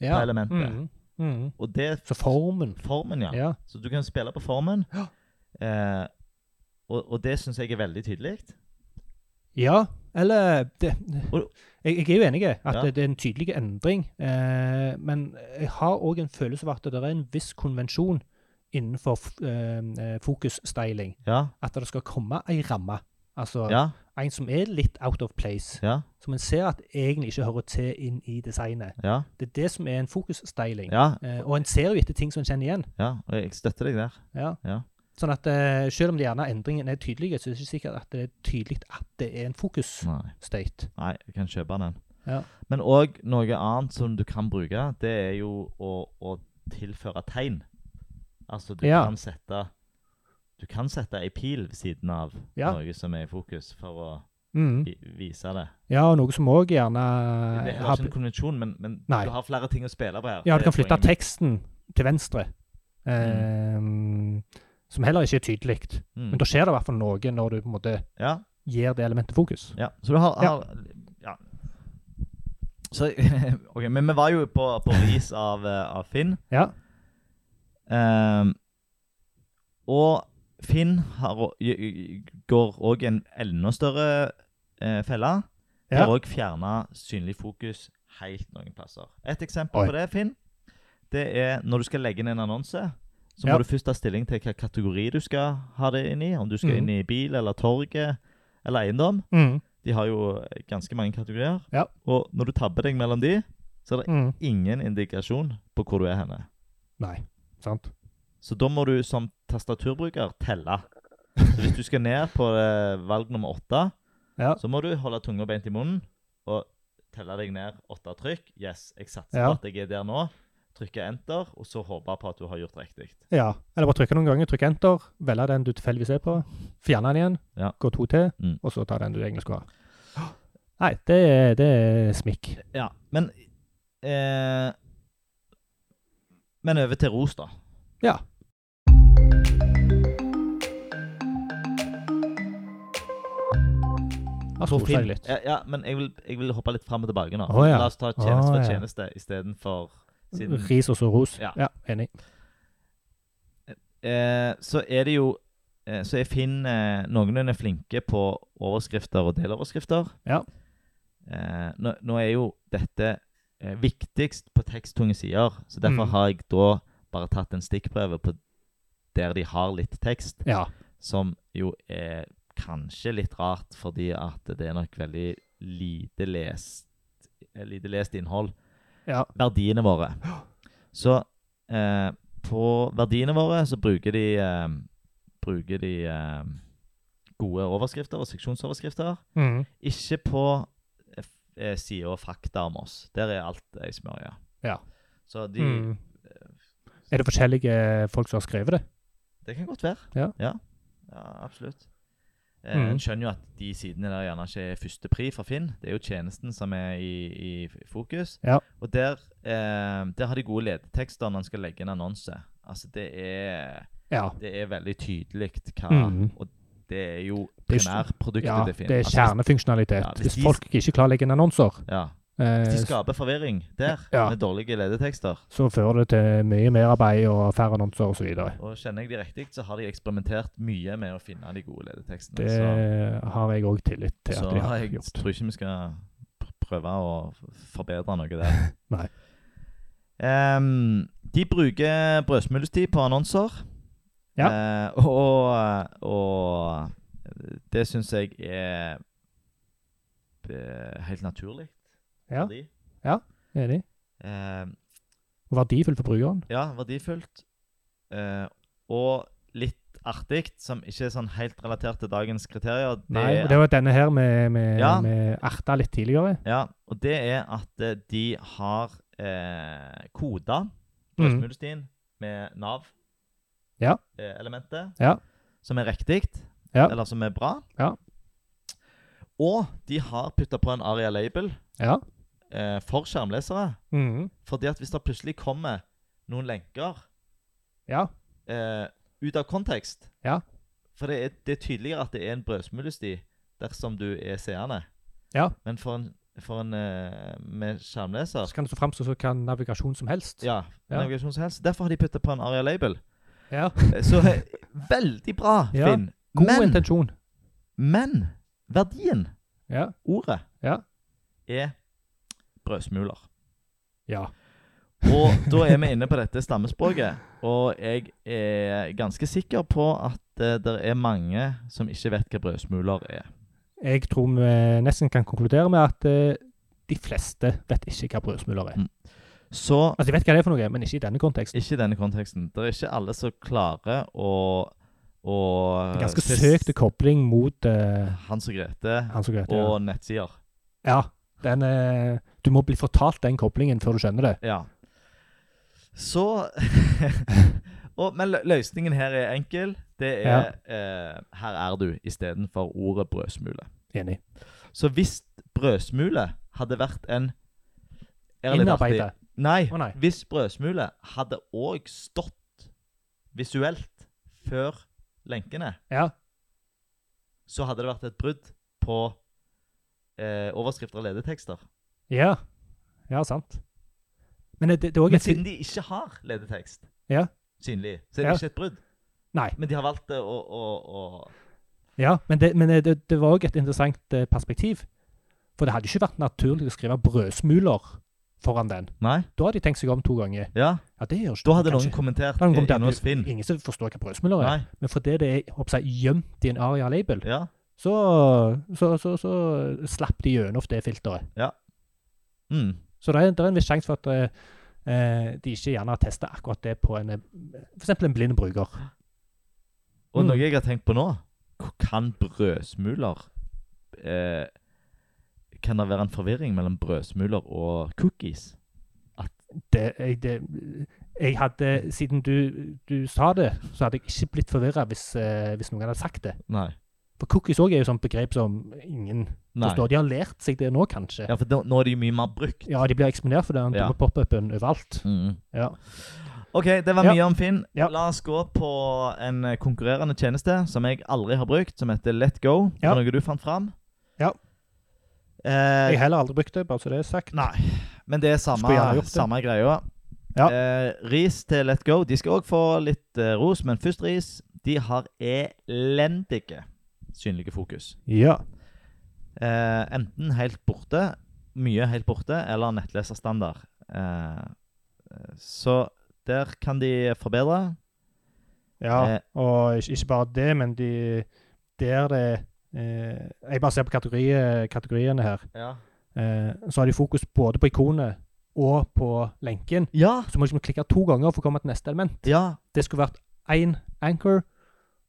[SPEAKER 2] Ja.
[SPEAKER 1] på elementet.
[SPEAKER 2] Mm. Mm.
[SPEAKER 1] Og det er
[SPEAKER 2] Så formen.
[SPEAKER 1] formen, ja.
[SPEAKER 2] Ja.
[SPEAKER 1] Så du kan spille på formen.
[SPEAKER 2] Ja.
[SPEAKER 1] Eh, og, og det syns jeg er veldig tydelig.
[SPEAKER 2] Ja, eller det,
[SPEAKER 1] Og-
[SPEAKER 2] jeg, jeg er jo enig i at
[SPEAKER 1] Ja.
[SPEAKER 2] det, det er en tydelig endring. Eh, men jeg har òg en følelse av at det er en viss konvensjon innenfor f- eh, eh, fokusstyling.
[SPEAKER 1] Ja,
[SPEAKER 2] At det skal komme ei ramme. Altså
[SPEAKER 1] ja,
[SPEAKER 2] en som er litt out of place.
[SPEAKER 1] ja.
[SPEAKER 2] Som en ser at egentlig ikke hører til inn i designet.
[SPEAKER 1] Ja,
[SPEAKER 2] Det er det som er en fokusstyling.
[SPEAKER 1] ja,
[SPEAKER 2] Eh, og en ser jo etter ting som en kjenner igjen.
[SPEAKER 1] ja. Og jeg støtter deg der.
[SPEAKER 2] Ja.
[SPEAKER 1] Ja.
[SPEAKER 2] Sånn at eh, selv om det gjerne endringen er tydelig, så er det ikke sikkert at det er tydelig at det er en
[SPEAKER 1] Nei,
[SPEAKER 2] fokus-state.
[SPEAKER 1] nei jeg kan kjøpe den.
[SPEAKER 2] Ja.
[SPEAKER 1] Men òg noe annet som du kan bruke, det er jo å, å tilføre tegn. Altså, du
[SPEAKER 2] Ja.
[SPEAKER 1] kan sette Du kan sette ei pil ved siden av
[SPEAKER 2] Ja.
[SPEAKER 1] noe som er i fokus, for å
[SPEAKER 2] Mm.
[SPEAKER 1] vi vise det.
[SPEAKER 2] Ja, og noe som òg gjerne
[SPEAKER 1] Det er
[SPEAKER 2] har,
[SPEAKER 1] ikke en konvensjon, men, men
[SPEAKER 2] Nei.
[SPEAKER 1] du har flere ting å spille på her.
[SPEAKER 2] Ja,
[SPEAKER 1] Det
[SPEAKER 2] du
[SPEAKER 1] er
[SPEAKER 2] kan flytte
[SPEAKER 1] poenget mitt.
[SPEAKER 2] teksten til venstre. Ehm, som heller ikke er tydelig.
[SPEAKER 1] Mm.
[SPEAKER 2] Men da skjer det i hvert fall noe når du på en måte
[SPEAKER 1] Ja,
[SPEAKER 2] gir det elementet fokus.
[SPEAKER 1] ja. Så du har,
[SPEAKER 2] Ja.
[SPEAKER 1] har ja. Så, OK, men vi var jo på, på ris av, eh, av Finn.
[SPEAKER 2] Ja.
[SPEAKER 1] Ehm, og Finn har, å- gj- gj- går òg en enda større eh, felle.
[SPEAKER 2] Ja.
[SPEAKER 1] Har òg fjerna synlig fokus helt noen plasser. Et eksempel
[SPEAKER 2] Oi.
[SPEAKER 1] på det, Finn, det er når du skal legge inn en annonse. Så
[SPEAKER 2] Ja.
[SPEAKER 1] må du først ta stilling til hvilken kategori du skal ha det inn i. Om du skal
[SPEAKER 2] Mhm.
[SPEAKER 1] inn i bil eller torget eller eiendom.
[SPEAKER 2] Mm.
[SPEAKER 1] De har jo eh, ganske mange kategorier.
[SPEAKER 2] Ja.
[SPEAKER 1] Og når du tabber deg mellom de, så er det
[SPEAKER 2] Mm.
[SPEAKER 1] ingen indikasjon på hvor du er henne.
[SPEAKER 2] Nei. Sant.
[SPEAKER 1] Så da må du som tastaturbruker telle. Så hvis du skal ned på eh, valg nummer åtte,
[SPEAKER 2] Ja.
[SPEAKER 1] så må du holde tunga beint i munnen og telle deg ned åtte trykk. Yes, jeg satser på
[SPEAKER 2] Ja.
[SPEAKER 1] at jeg er der nå. Trykke enter, og så håpe på at du har gjort riktig.
[SPEAKER 2] ja. Eller bare trykke noen ganger. Trykk enter. Velge den du tilfeldigvis er på. Fjerne den igjen.
[SPEAKER 1] Ja.
[SPEAKER 2] Gå to til.
[SPEAKER 1] Mm.
[SPEAKER 2] Og så ta den du egentlig skulle ha. Nei, det er, det er smikk.
[SPEAKER 1] Ja, men eh, Men over til ros, da.
[SPEAKER 2] Ja. Har
[SPEAKER 5] På
[SPEAKER 2] kost
[SPEAKER 5] film.
[SPEAKER 2] seg litt.
[SPEAKER 1] Ja, ja men jeg vil, jeg vil hoppe litt fram og tilbake nå.
[SPEAKER 2] Å, ja.
[SPEAKER 1] La oss ta tjeneste
[SPEAKER 2] Å,
[SPEAKER 1] for
[SPEAKER 2] ja.
[SPEAKER 1] tjeneste istedenfor siden
[SPEAKER 2] Ris og så ros.
[SPEAKER 1] Ja.
[SPEAKER 2] Ja. enig.
[SPEAKER 1] eh, Så er det jo eh, Så er Finn eh, Noen er flinke på overskrifter og deloverskrifter.
[SPEAKER 2] Ja.
[SPEAKER 1] Eh, nå, nå er jo dette eh, viktigst på teksttunge sider, så derfor
[SPEAKER 2] Mm.
[SPEAKER 1] har jeg da bare tatt en stikkprøve på der de har litt tekst.
[SPEAKER 2] Ja.
[SPEAKER 1] Som jo er kanskje litt rart, fordi at det er nok veldig lite lest, eh, lite lest innhold.
[SPEAKER 2] ja.
[SPEAKER 1] Verdiene våre. Så eh, på verdiene våre så bruker de, eh, bruker de eh, gode overskrifter og seksjonsoverskrifter.
[SPEAKER 2] Mhm.
[SPEAKER 1] Ikke på eh, sida fakta om oss. Der er alt ei smørje.
[SPEAKER 2] Ja.
[SPEAKER 1] Så de eh,
[SPEAKER 2] Mhm. Er det forskjellige folk som har skrevet det?
[SPEAKER 1] Det kan godt være.
[SPEAKER 2] Ja.
[SPEAKER 1] ja. Ja, absolutt. Eh,
[SPEAKER 2] Mhm.
[SPEAKER 1] En skjønner jo at de sidene der gjerne ikke er førstepri for Finn. Det er jo tjenesten som er i, i fokus.
[SPEAKER 2] Ja.
[SPEAKER 1] Og der, eh, der har de gode ledetekster når en skal legge en annonse. Altså, det er,
[SPEAKER 2] Ja.
[SPEAKER 1] det er veldig tydelig hva
[SPEAKER 2] Mhm.
[SPEAKER 1] Og det er jo
[SPEAKER 2] Det er ikke-
[SPEAKER 1] primærproduktet
[SPEAKER 2] Ja,
[SPEAKER 1] til Finn.
[SPEAKER 2] det er
[SPEAKER 1] Altså, hvis-
[SPEAKER 2] kjernefunksjonalitet.
[SPEAKER 1] Ja, hvis
[SPEAKER 2] hvis,
[SPEAKER 1] de-
[SPEAKER 2] folk ikke klarer å legge inn annonser,
[SPEAKER 1] Ja.
[SPEAKER 2] eh,
[SPEAKER 1] De skaper forvirring der,
[SPEAKER 2] Ja.
[SPEAKER 1] med dårlige ledetekster.
[SPEAKER 2] så fører det til mye merarbeid og færre annonser osv.
[SPEAKER 1] Og kjenner jeg de riktig, så har de eksperimentert mye med å finne de gode ledetekstene.
[SPEAKER 2] Det
[SPEAKER 1] så-
[SPEAKER 2] har jeg òg tillit til at
[SPEAKER 1] Altså- Så
[SPEAKER 2] de har
[SPEAKER 1] jeg
[SPEAKER 2] gjort.
[SPEAKER 1] tror ikke vi skal pr- prøve å f- forbedre noe der.
[SPEAKER 2] Nei.
[SPEAKER 1] Ehm, de bruker brødsmulestid på annonser. Eh, og, og det syns jeg er eh, helt naturlig.
[SPEAKER 2] Ja.
[SPEAKER 1] for de.
[SPEAKER 2] Enig.
[SPEAKER 1] Ehm,
[SPEAKER 2] Og verdifull for brukeren.
[SPEAKER 1] ja, verdifullt. Eh, og litt artig, som ikke er sånn helt relatert til dagens kriterier. Det
[SPEAKER 2] Nei,
[SPEAKER 1] er
[SPEAKER 2] og det var denne her med, med,
[SPEAKER 1] Ja.
[SPEAKER 2] med erta litt tidligere.
[SPEAKER 1] Ja, og det er at eh, de har eh, koda
[SPEAKER 2] Mhm.
[SPEAKER 1] brødsmulestien med
[SPEAKER 2] Ja.
[SPEAKER 1] Nav-elementet,
[SPEAKER 2] Ja.
[SPEAKER 1] som er riktig,
[SPEAKER 2] Ja.
[SPEAKER 1] eller som er bra.
[SPEAKER 2] Ja.
[SPEAKER 1] Og de har putta på en Aria-label
[SPEAKER 2] Ja.
[SPEAKER 1] eh, for skjermlesere.
[SPEAKER 2] Mhm.
[SPEAKER 1] fordi at hvis det plutselig kommer noen lenker
[SPEAKER 2] Ja.
[SPEAKER 1] eh, ut av kontekst
[SPEAKER 2] Ja.
[SPEAKER 1] For det er, det er tydeligere at det er en brødsmulesti dersom du er seende.
[SPEAKER 2] Ja.
[SPEAKER 1] Men for en, for en eh, med skjermleser
[SPEAKER 2] Så kan det så framstå som kan navigasjon som helst.
[SPEAKER 1] Ja.
[SPEAKER 2] Ja.
[SPEAKER 1] navigasjon som helst. Derfor har de putta på en Aria Label.
[SPEAKER 2] Ja.
[SPEAKER 1] Eh, Så eh, veldig bra,
[SPEAKER 2] Ja.
[SPEAKER 1] Finn.
[SPEAKER 2] God
[SPEAKER 1] Men,
[SPEAKER 2] intensjon.
[SPEAKER 1] men verdien,
[SPEAKER 2] Ja.
[SPEAKER 1] ordet,
[SPEAKER 2] Ja.
[SPEAKER 1] er brødsmuler.
[SPEAKER 2] Ja.
[SPEAKER 1] Og da er vi inne på dette stammespråket. Og jeg er ganske sikker på at eh, det er mange som ikke vet hva brødsmuler er.
[SPEAKER 2] Jeg tror vi nesten kan konkludere med at eh, de fleste vet ikke hva brødsmuler er.
[SPEAKER 1] Mm. Så
[SPEAKER 2] Altså, De vet hva det er for noe, men ikke i denne konteksten.
[SPEAKER 1] ikke i denne konteksten. Det er ikke alle som klarer å, å
[SPEAKER 2] Det er ganske søkt kobling mot eh,
[SPEAKER 1] Hans og Grete
[SPEAKER 2] Hans og Grete. ja.
[SPEAKER 1] og nettsider.
[SPEAKER 2] Ja, den, eh, du må bli fortalt den koblingen før du skjønner det.
[SPEAKER 1] Ja. Så og, Men lø- løsningen her er enkel. Det er eh, 'her er du' istedenfor ordet brødsmule.
[SPEAKER 2] Enig.
[SPEAKER 1] Så hvis brødsmule hadde vært en Her er litt artig.
[SPEAKER 2] Innarbeidet.
[SPEAKER 1] Nei,
[SPEAKER 2] Å, nei.
[SPEAKER 1] Hvis brødsmule hadde òg stått visuelt før lenkene,
[SPEAKER 2] Ja.
[SPEAKER 1] så hadde det vært et brudd på eh, overskrifter og ledetekster.
[SPEAKER 2] ja. Ja, sant. Men eh, det, det er òg
[SPEAKER 1] Men
[SPEAKER 2] et
[SPEAKER 1] siden de ikke har ledetekst
[SPEAKER 2] Ja.
[SPEAKER 1] synlig, så er det
[SPEAKER 2] Ja.
[SPEAKER 1] ikke et brudd.
[SPEAKER 2] Nei.
[SPEAKER 1] Men de har valgt det å, å, å
[SPEAKER 2] Ja, men det, men eh, det, det var òg et interessant eh, perspektiv. For det hadde ikke vært naturlig å skrive 'brødsmuler' foran den.
[SPEAKER 1] Nei?
[SPEAKER 2] Da hadde de tenkt seg om to ganger.
[SPEAKER 1] Ja.
[SPEAKER 2] Ja, det gjør ikke
[SPEAKER 1] Da hadde
[SPEAKER 2] kanskje.
[SPEAKER 1] noen kommentert
[SPEAKER 2] Da hadde noen kommet
[SPEAKER 1] eh,
[SPEAKER 2] til
[SPEAKER 1] inne hos
[SPEAKER 2] at
[SPEAKER 1] Finn.
[SPEAKER 2] Ingen som forstår hva brødsmuler er.
[SPEAKER 1] Nei.
[SPEAKER 2] Men fordi det er håper jeg, gjemt i en aria-label,
[SPEAKER 1] Ja.
[SPEAKER 2] så, så, så, så slapp de gjennom det filteret.
[SPEAKER 1] Mm.
[SPEAKER 2] Så det er, det er en viss sjanse for at eh, eh, de ikke gjerne har testa akkurat det på en eh, for eksempel en blind bruker.
[SPEAKER 1] Og
[SPEAKER 2] Mm.
[SPEAKER 1] noe jeg har tenkt på nå k- Kan brødsmuler eh, Kan det være en forvirring mellom brødsmuler og cookies?
[SPEAKER 2] Det, jeg, det, jeg hadde, siden du, du sa det, så hadde jeg ikke blitt forvirra hvis, eh, hvis noen hadde sagt det.
[SPEAKER 1] Nei.
[SPEAKER 2] For cookies òg er jo sånn begrep som ingen
[SPEAKER 1] Nei.
[SPEAKER 2] forstår. De har lært seg det nå, kanskje.
[SPEAKER 1] Ja, for nå, nå er de jo mye mer brukt.
[SPEAKER 2] Ja, de blir eksponert for den
[SPEAKER 1] Ja.
[SPEAKER 2] dumme pop-upen overalt.
[SPEAKER 1] Mm.
[SPEAKER 2] Ja.
[SPEAKER 1] OK, det var
[SPEAKER 2] Ja.
[SPEAKER 1] mye om Finn.
[SPEAKER 2] Ja.
[SPEAKER 1] La oss gå på en eh, konkurrerende tjeneste som jeg aldri har brukt, som heter Let Go.
[SPEAKER 2] Ja.
[SPEAKER 1] Var det noe du fant fram?
[SPEAKER 2] Ja.
[SPEAKER 1] Eh,
[SPEAKER 2] Jeg har heller aldri brukt det, bare så det er sagt.
[SPEAKER 1] Nei. Men det er samme,
[SPEAKER 2] Skulle gjerne gjort det.
[SPEAKER 1] samme greia.
[SPEAKER 2] Ja.
[SPEAKER 1] Eh, ris til Let Go. De skal òg få litt eh, ros, men først ris. De har elendige synlige fokus.
[SPEAKER 2] Ja.
[SPEAKER 1] Eh, enten helt borte, mye helt borte, eller nettleserstandard. Eh, eh, så der kan de forbedre.
[SPEAKER 2] ja.
[SPEAKER 1] Eh,
[SPEAKER 2] Og ikke, ikke bare det, men de Der det eh, Jeg bare ser på kategori- kategoriene her. Eh, så har de fokus både på ikonet og på lenken.
[SPEAKER 1] ja.
[SPEAKER 2] Så må du ikke klikke to ganger for å komme til neste element.
[SPEAKER 1] ja.
[SPEAKER 2] Det skulle vært én anchor,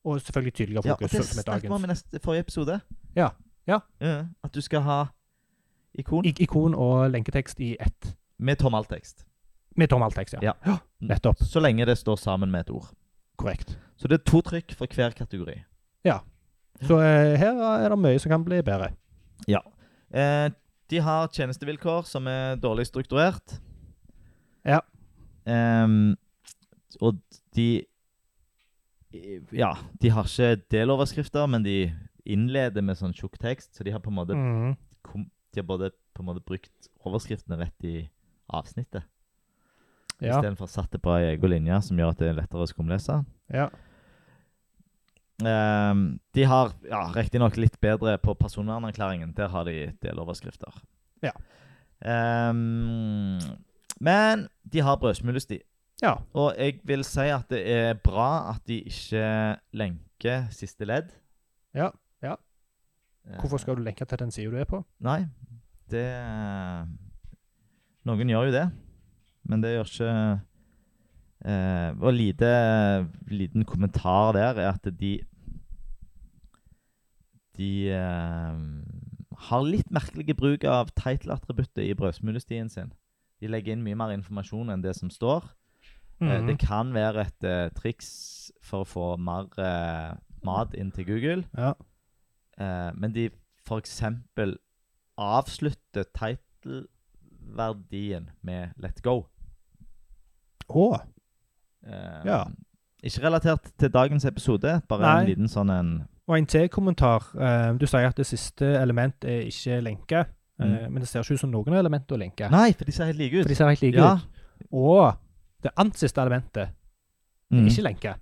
[SPEAKER 2] og selvfølgelig tydeligere
[SPEAKER 1] ja. Og
[SPEAKER 2] fokus.
[SPEAKER 1] det
[SPEAKER 2] som er
[SPEAKER 1] snakket vi om
[SPEAKER 2] dagens.
[SPEAKER 1] i neste, forrige episode. Eh,
[SPEAKER 2] Ja. Ja.
[SPEAKER 1] At du skal ha ikon
[SPEAKER 2] Ik ikon og lenketekst i ett.
[SPEAKER 1] med tommeltekst.
[SPEAKER 2] Med tommeltekst, ja.
[SPEAKER 1] Ja. Mm.
[SPEAKER 2] ja. Nettopp.
[SPEAKER 1] Så lenge det står sammen med et ord.
[SPEAKER 2] Korrekt.
[SPEAKER 1] Så det er to trykk for hver kategori.
[SPEAKER 2] Så eh, her er det mye som kan bli bedre.
[SPEAKER 1] Eh, de har tjenestevilkår som er dårlig strukturert.
[SPEAKER 2] Ja.
[SPEAKER 1] Ehm, og de Ja, de har ikke deloverskrifter, men de innleder med sånn tjukk tekst, så de har på en måte,
[SPEAKER 2] Mhm.
[SPEAKER 1] kom, de har både, på en måte brukt overskriftene rett i avsnittet.
[SPEAKER 2] Ja.
[SPEAKER 1] Istedenfor satt det på ei egen linje, som gjør at det er lettere å skumlese.
[SPEAKER 2] ja.
[SPEAKER 1] Ehm, de har ja, riktignok litt bedre på personvernerklæringen. Der har de deloverskrifter.
[SPEAKER 2] Ja.
[SPEAKER 1] Ehm, men de har brødsmulesti.
[SPEAKER 2] Ja.
[SPEAKER 1] Og jeg vil si at det er bra at de ikke lenker siste ledd.
[SPEAKER 2] Ja, ja.
[SPEAKER 1] Eh,
[SPEAKER 2] Hvorfor skal du lenke til den sida du er på?
[SPEAKER 1] Nei, det Noen gjør jo det, men det gjør ikke eh, Og lite, liten kommentar der er at de De eh, har litt merkelig bruk av title-attributtet i brødsmulestien sin. De legger inn mye mer informasjon enn det som står. Eh,
[SPEAKER 2] Mhm.
[SPEAKER 1] Det kan være et eh, triks for å få mer eh, mat inn til Google.
[SPEAKER 2] Ja.
[SPEAKER 1] Eh, men de for eksempel avslutter title-verdien med let go.
[SPEAKER 2] Å,
[SPEAKER 1] Eh,
[SPEAKER 2] Ja.
[SPEAKER 1] Ikke relatert til dagens episode, bare
[SPEAKER 2] Nei.
[SPEAKER 1] en liten sånn en
[SPEAKER 2] Og en til kommentar. Eh, du sier at det siste element er ikke lenke, eh,
[SPEAKER 1] Mm.
[SPEAKER 2] men det ser ikke ut som noen er element å lenke.
[SPEAKER 1] Nei, for de ser helt like ut.
[SPEAKER 2] For de ser helt like
[SPEAKER 1] ja.
[SPEAKER 2] ut. Og det annet siste elementet er
[SPEAKER 1] Mm.
[SPEAKER 2] ikke lenke.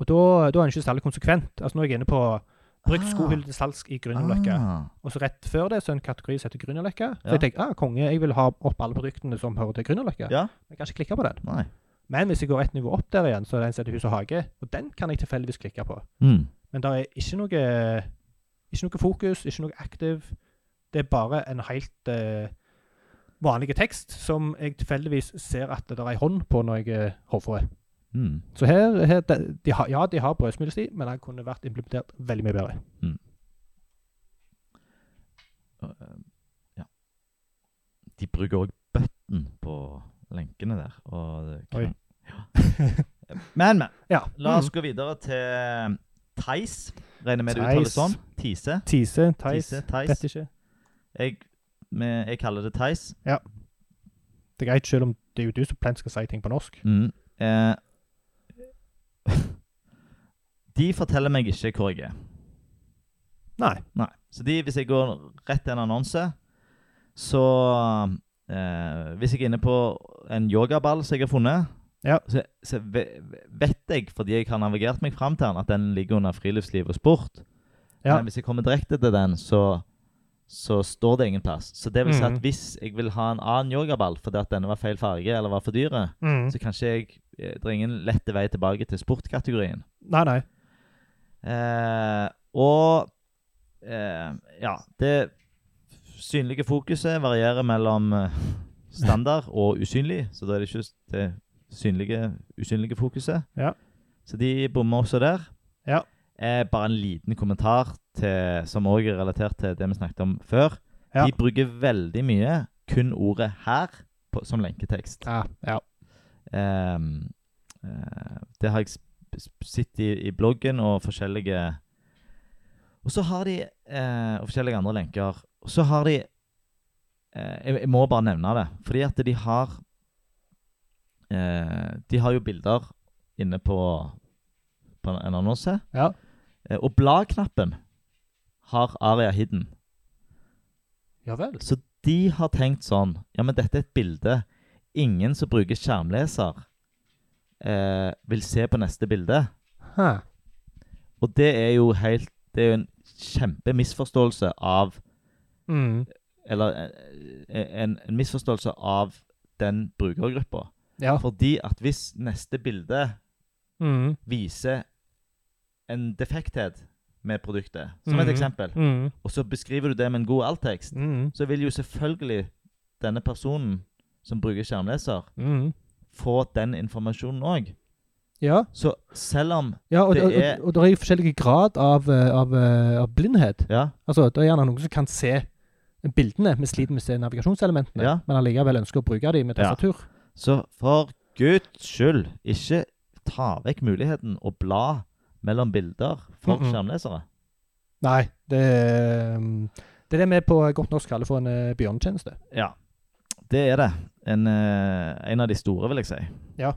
[SPEAKER 2] Og da, da er en ikke særlig konsekvent. Altså Nå er jeg inne på brukt
[SPEAKER 1] Ah.
[SPEAKER 2] skohylle til salgs i Grünerløkka.
[SPEAKER 1] Ah.
[SPEAKER 2] Og så rett før det så er en kategori som heter Grünerløkka. Så
[SPEAKER 1] Ja.
[SPEAKER 2] jeg tenker ah, konge, jeg vil ha opp alle produktene som hører til Grünerløkka.
[SPEAKER 1] Ja.
[SPEAKER 2] Jeg kan ikke klikke på den.
[SPEAKER 1] Nei.
[SPEAKER 2] Men hvis jeg går et nivå opp der igjen, så er det en som heter Hus og hage. Og den kan jeg tilfeldigvis klikke på.
[SPEAKER 1] Mm.
[SPEAKER 2] Men det er ikke noe, ikke noe fokus, ikke noe aktiv. Det er bare en helt eh, vanlig tekst som jeg tilfeldigvis ser at det er ei hånd på når jeg eh, hovrer.
[SPEAKER 1] Mm.
[SPEAKER 2] Så her, her de, de har, Ja, de har brødsmulesti, men den kunne vært implementert veldig mye bedre.
[SPEAKER 1] Og, eh, ja. De bruker òg button på lenkene der. Og det kan,
[SPEAKER 2] Oi.
[SPEAKER 1] Ja. Men, men.
[SPEAKER 2] Ja. mm.
[SPEAKER 1] La oss gå videre til eh, Theis. Regner med du
[SPEAKER 2] Theis.
[SPEAKER 1] uttaler sånn. Tise.
[SPEAKER 2] Tise, Theis,
[SPEAKER 1] Tise, Theis.
[SPEAKER 2] vet ikke.
[SPEAKER 1] Jeg, med, jeg kaller det Theis.
[SPEAKER 2] Det er greit, selv om det er jo du som plent skal si ting på norsk.
[SPEAKER 1] Mm. Eh, de forteller meg ikke hvor jeg er.
[SPEAKER 2] Nei.
[SPEAKER 1] Nei. Så de, hvis jeg går rett til en annonse, så eh, Hvis jeg er inne på en yogaball som jeg har funnet,
[SPEAKER 2] Ja.
[SPEAKER 1] så, så ve- vet jeg, fordi jeg har navigert meg fram til den, at den ligger under friluftsliv og sport.
[SPEAKER 2] Ja.
[SPEAKER 1] Men hvis jeg kommer direkte til den, så, så står det ingen plass. Så det vil si at
[SPEAKER 2] Mhm.
[SPEAKER 1] hvis jeg vil ha en annen yogaball fordi at denne var feil farge eller var for dyre,
[SPEAKER 2] Mm.
[SPEAKER 1] så kanskje jeg eh, Det er ingen lette vei tilbake til sportkategorien.
[SPEAKER 2] Nei, nei.
[SPEAKER 1] Eh, og eh, Ja, det synlige fokuset varierer mellom eh, standard og usynlig, så da er det ikke det synlige, usynlige fokuset.
[SPEAKER 2] Ja.
[SPEAKER 1] Så de bommer også der.
[SPEAKER 2] Ja.
[SPEAKER 1] Eh, bare en liten kommentar til, som òg er relatert til det vi snakket om før.
[SPEAKER 2] Ja.
[SPEAKER 1] De bruker veldig mye kun ordet 'her' på, som lenketekst.
[SPEAKER 2] Ja, ja.
[SPEAKER 1] Ehm, eh, det har jeg sp- sp- sett i, i bloggen og forskjellige Og så har de eh, Og forskjellige andre lenker. Og så har de eh, jeg, jeg må bare nevne det. Fordi at de har eh, De har jo bilder inne på, på en- en annonse.
[SPEAKER 2] Ja.
[SPEAKER 1] Eh, og bladknappen har Aria Hidden.
[SPEAKER 2] Ja vel.
[SPEAKER 1] Så de har tenkt sånn Ja, men dette er et bilde. Ingen som bruker skjermleser, eh, vil se på neste bilde.
[SPEAKER 2] Hæ.
[SPEAKER 1] Og det er jo helt Det er jo en kjempemisforståelse av
[SPEAKER 2] Mm.
[SPEAKER 1] Eller eh, en, en misforståelse av den brukergruppa.
[SPEAKER 2] Ja.
[SPEAKER 1] Fordi at hvis neste bilde
[SPEAKER 2] Mm.
[SPEAKER 1] viser en defekthet med produktet, som et
[SPEAKER 2] Mhm.
[SPEAKER 1] eksempel,
[SPEAKER 2] Mm.
[SPEAKER 1] og så beskriver du det med en god alttekst,
[SPEAKER 2] Mm.
[SPEAKER 1] så vil jo selvfølgelig denne personen som bruker skjermleser,
[SPEAKER 2] Mm.
[SPEAKER 1] få den informasjonen òg.
[SPEAKER 2] Ja.
[SPEAKER 1] Så selv om
[SPEAKER 2] Ja, og
[SPEAKER 1] Det
[SPEAKER 2] det, og,
[SPEAKER 1] er-
[SPEAKER 2] og, og det er jo forskjellige grad av, eh, av, eh, av blindhet.
[SPEAKER 1] Ja,
[SPEAKER 2] Altså, Det er gjerne noen som kan se bildene, men sliter med å se navigasjonselementene.
[SPEAKER 1] Ja.
[SPEAKER 2] Men allikevel ønsker å bruke dem med
[SPEAKER 1] Ja.
[SPEAKER 2] tastatur.
[SPEAKER 1] så for guds skyld, ikke ta vekk muligheten å bla mellom bilder for
[SPEAKER 2] Mhm.
[SPEAKER 1] skjermlesere.
[SPEAKER 2] Nei, det, mm, det er det vi på godt norsk kaller for en eh, bjørnetjeneste.
[SPEAKER 1] Ja, det er det. En, eh, en av de store, vil jeg si.
[SPEAKER 2] Ja.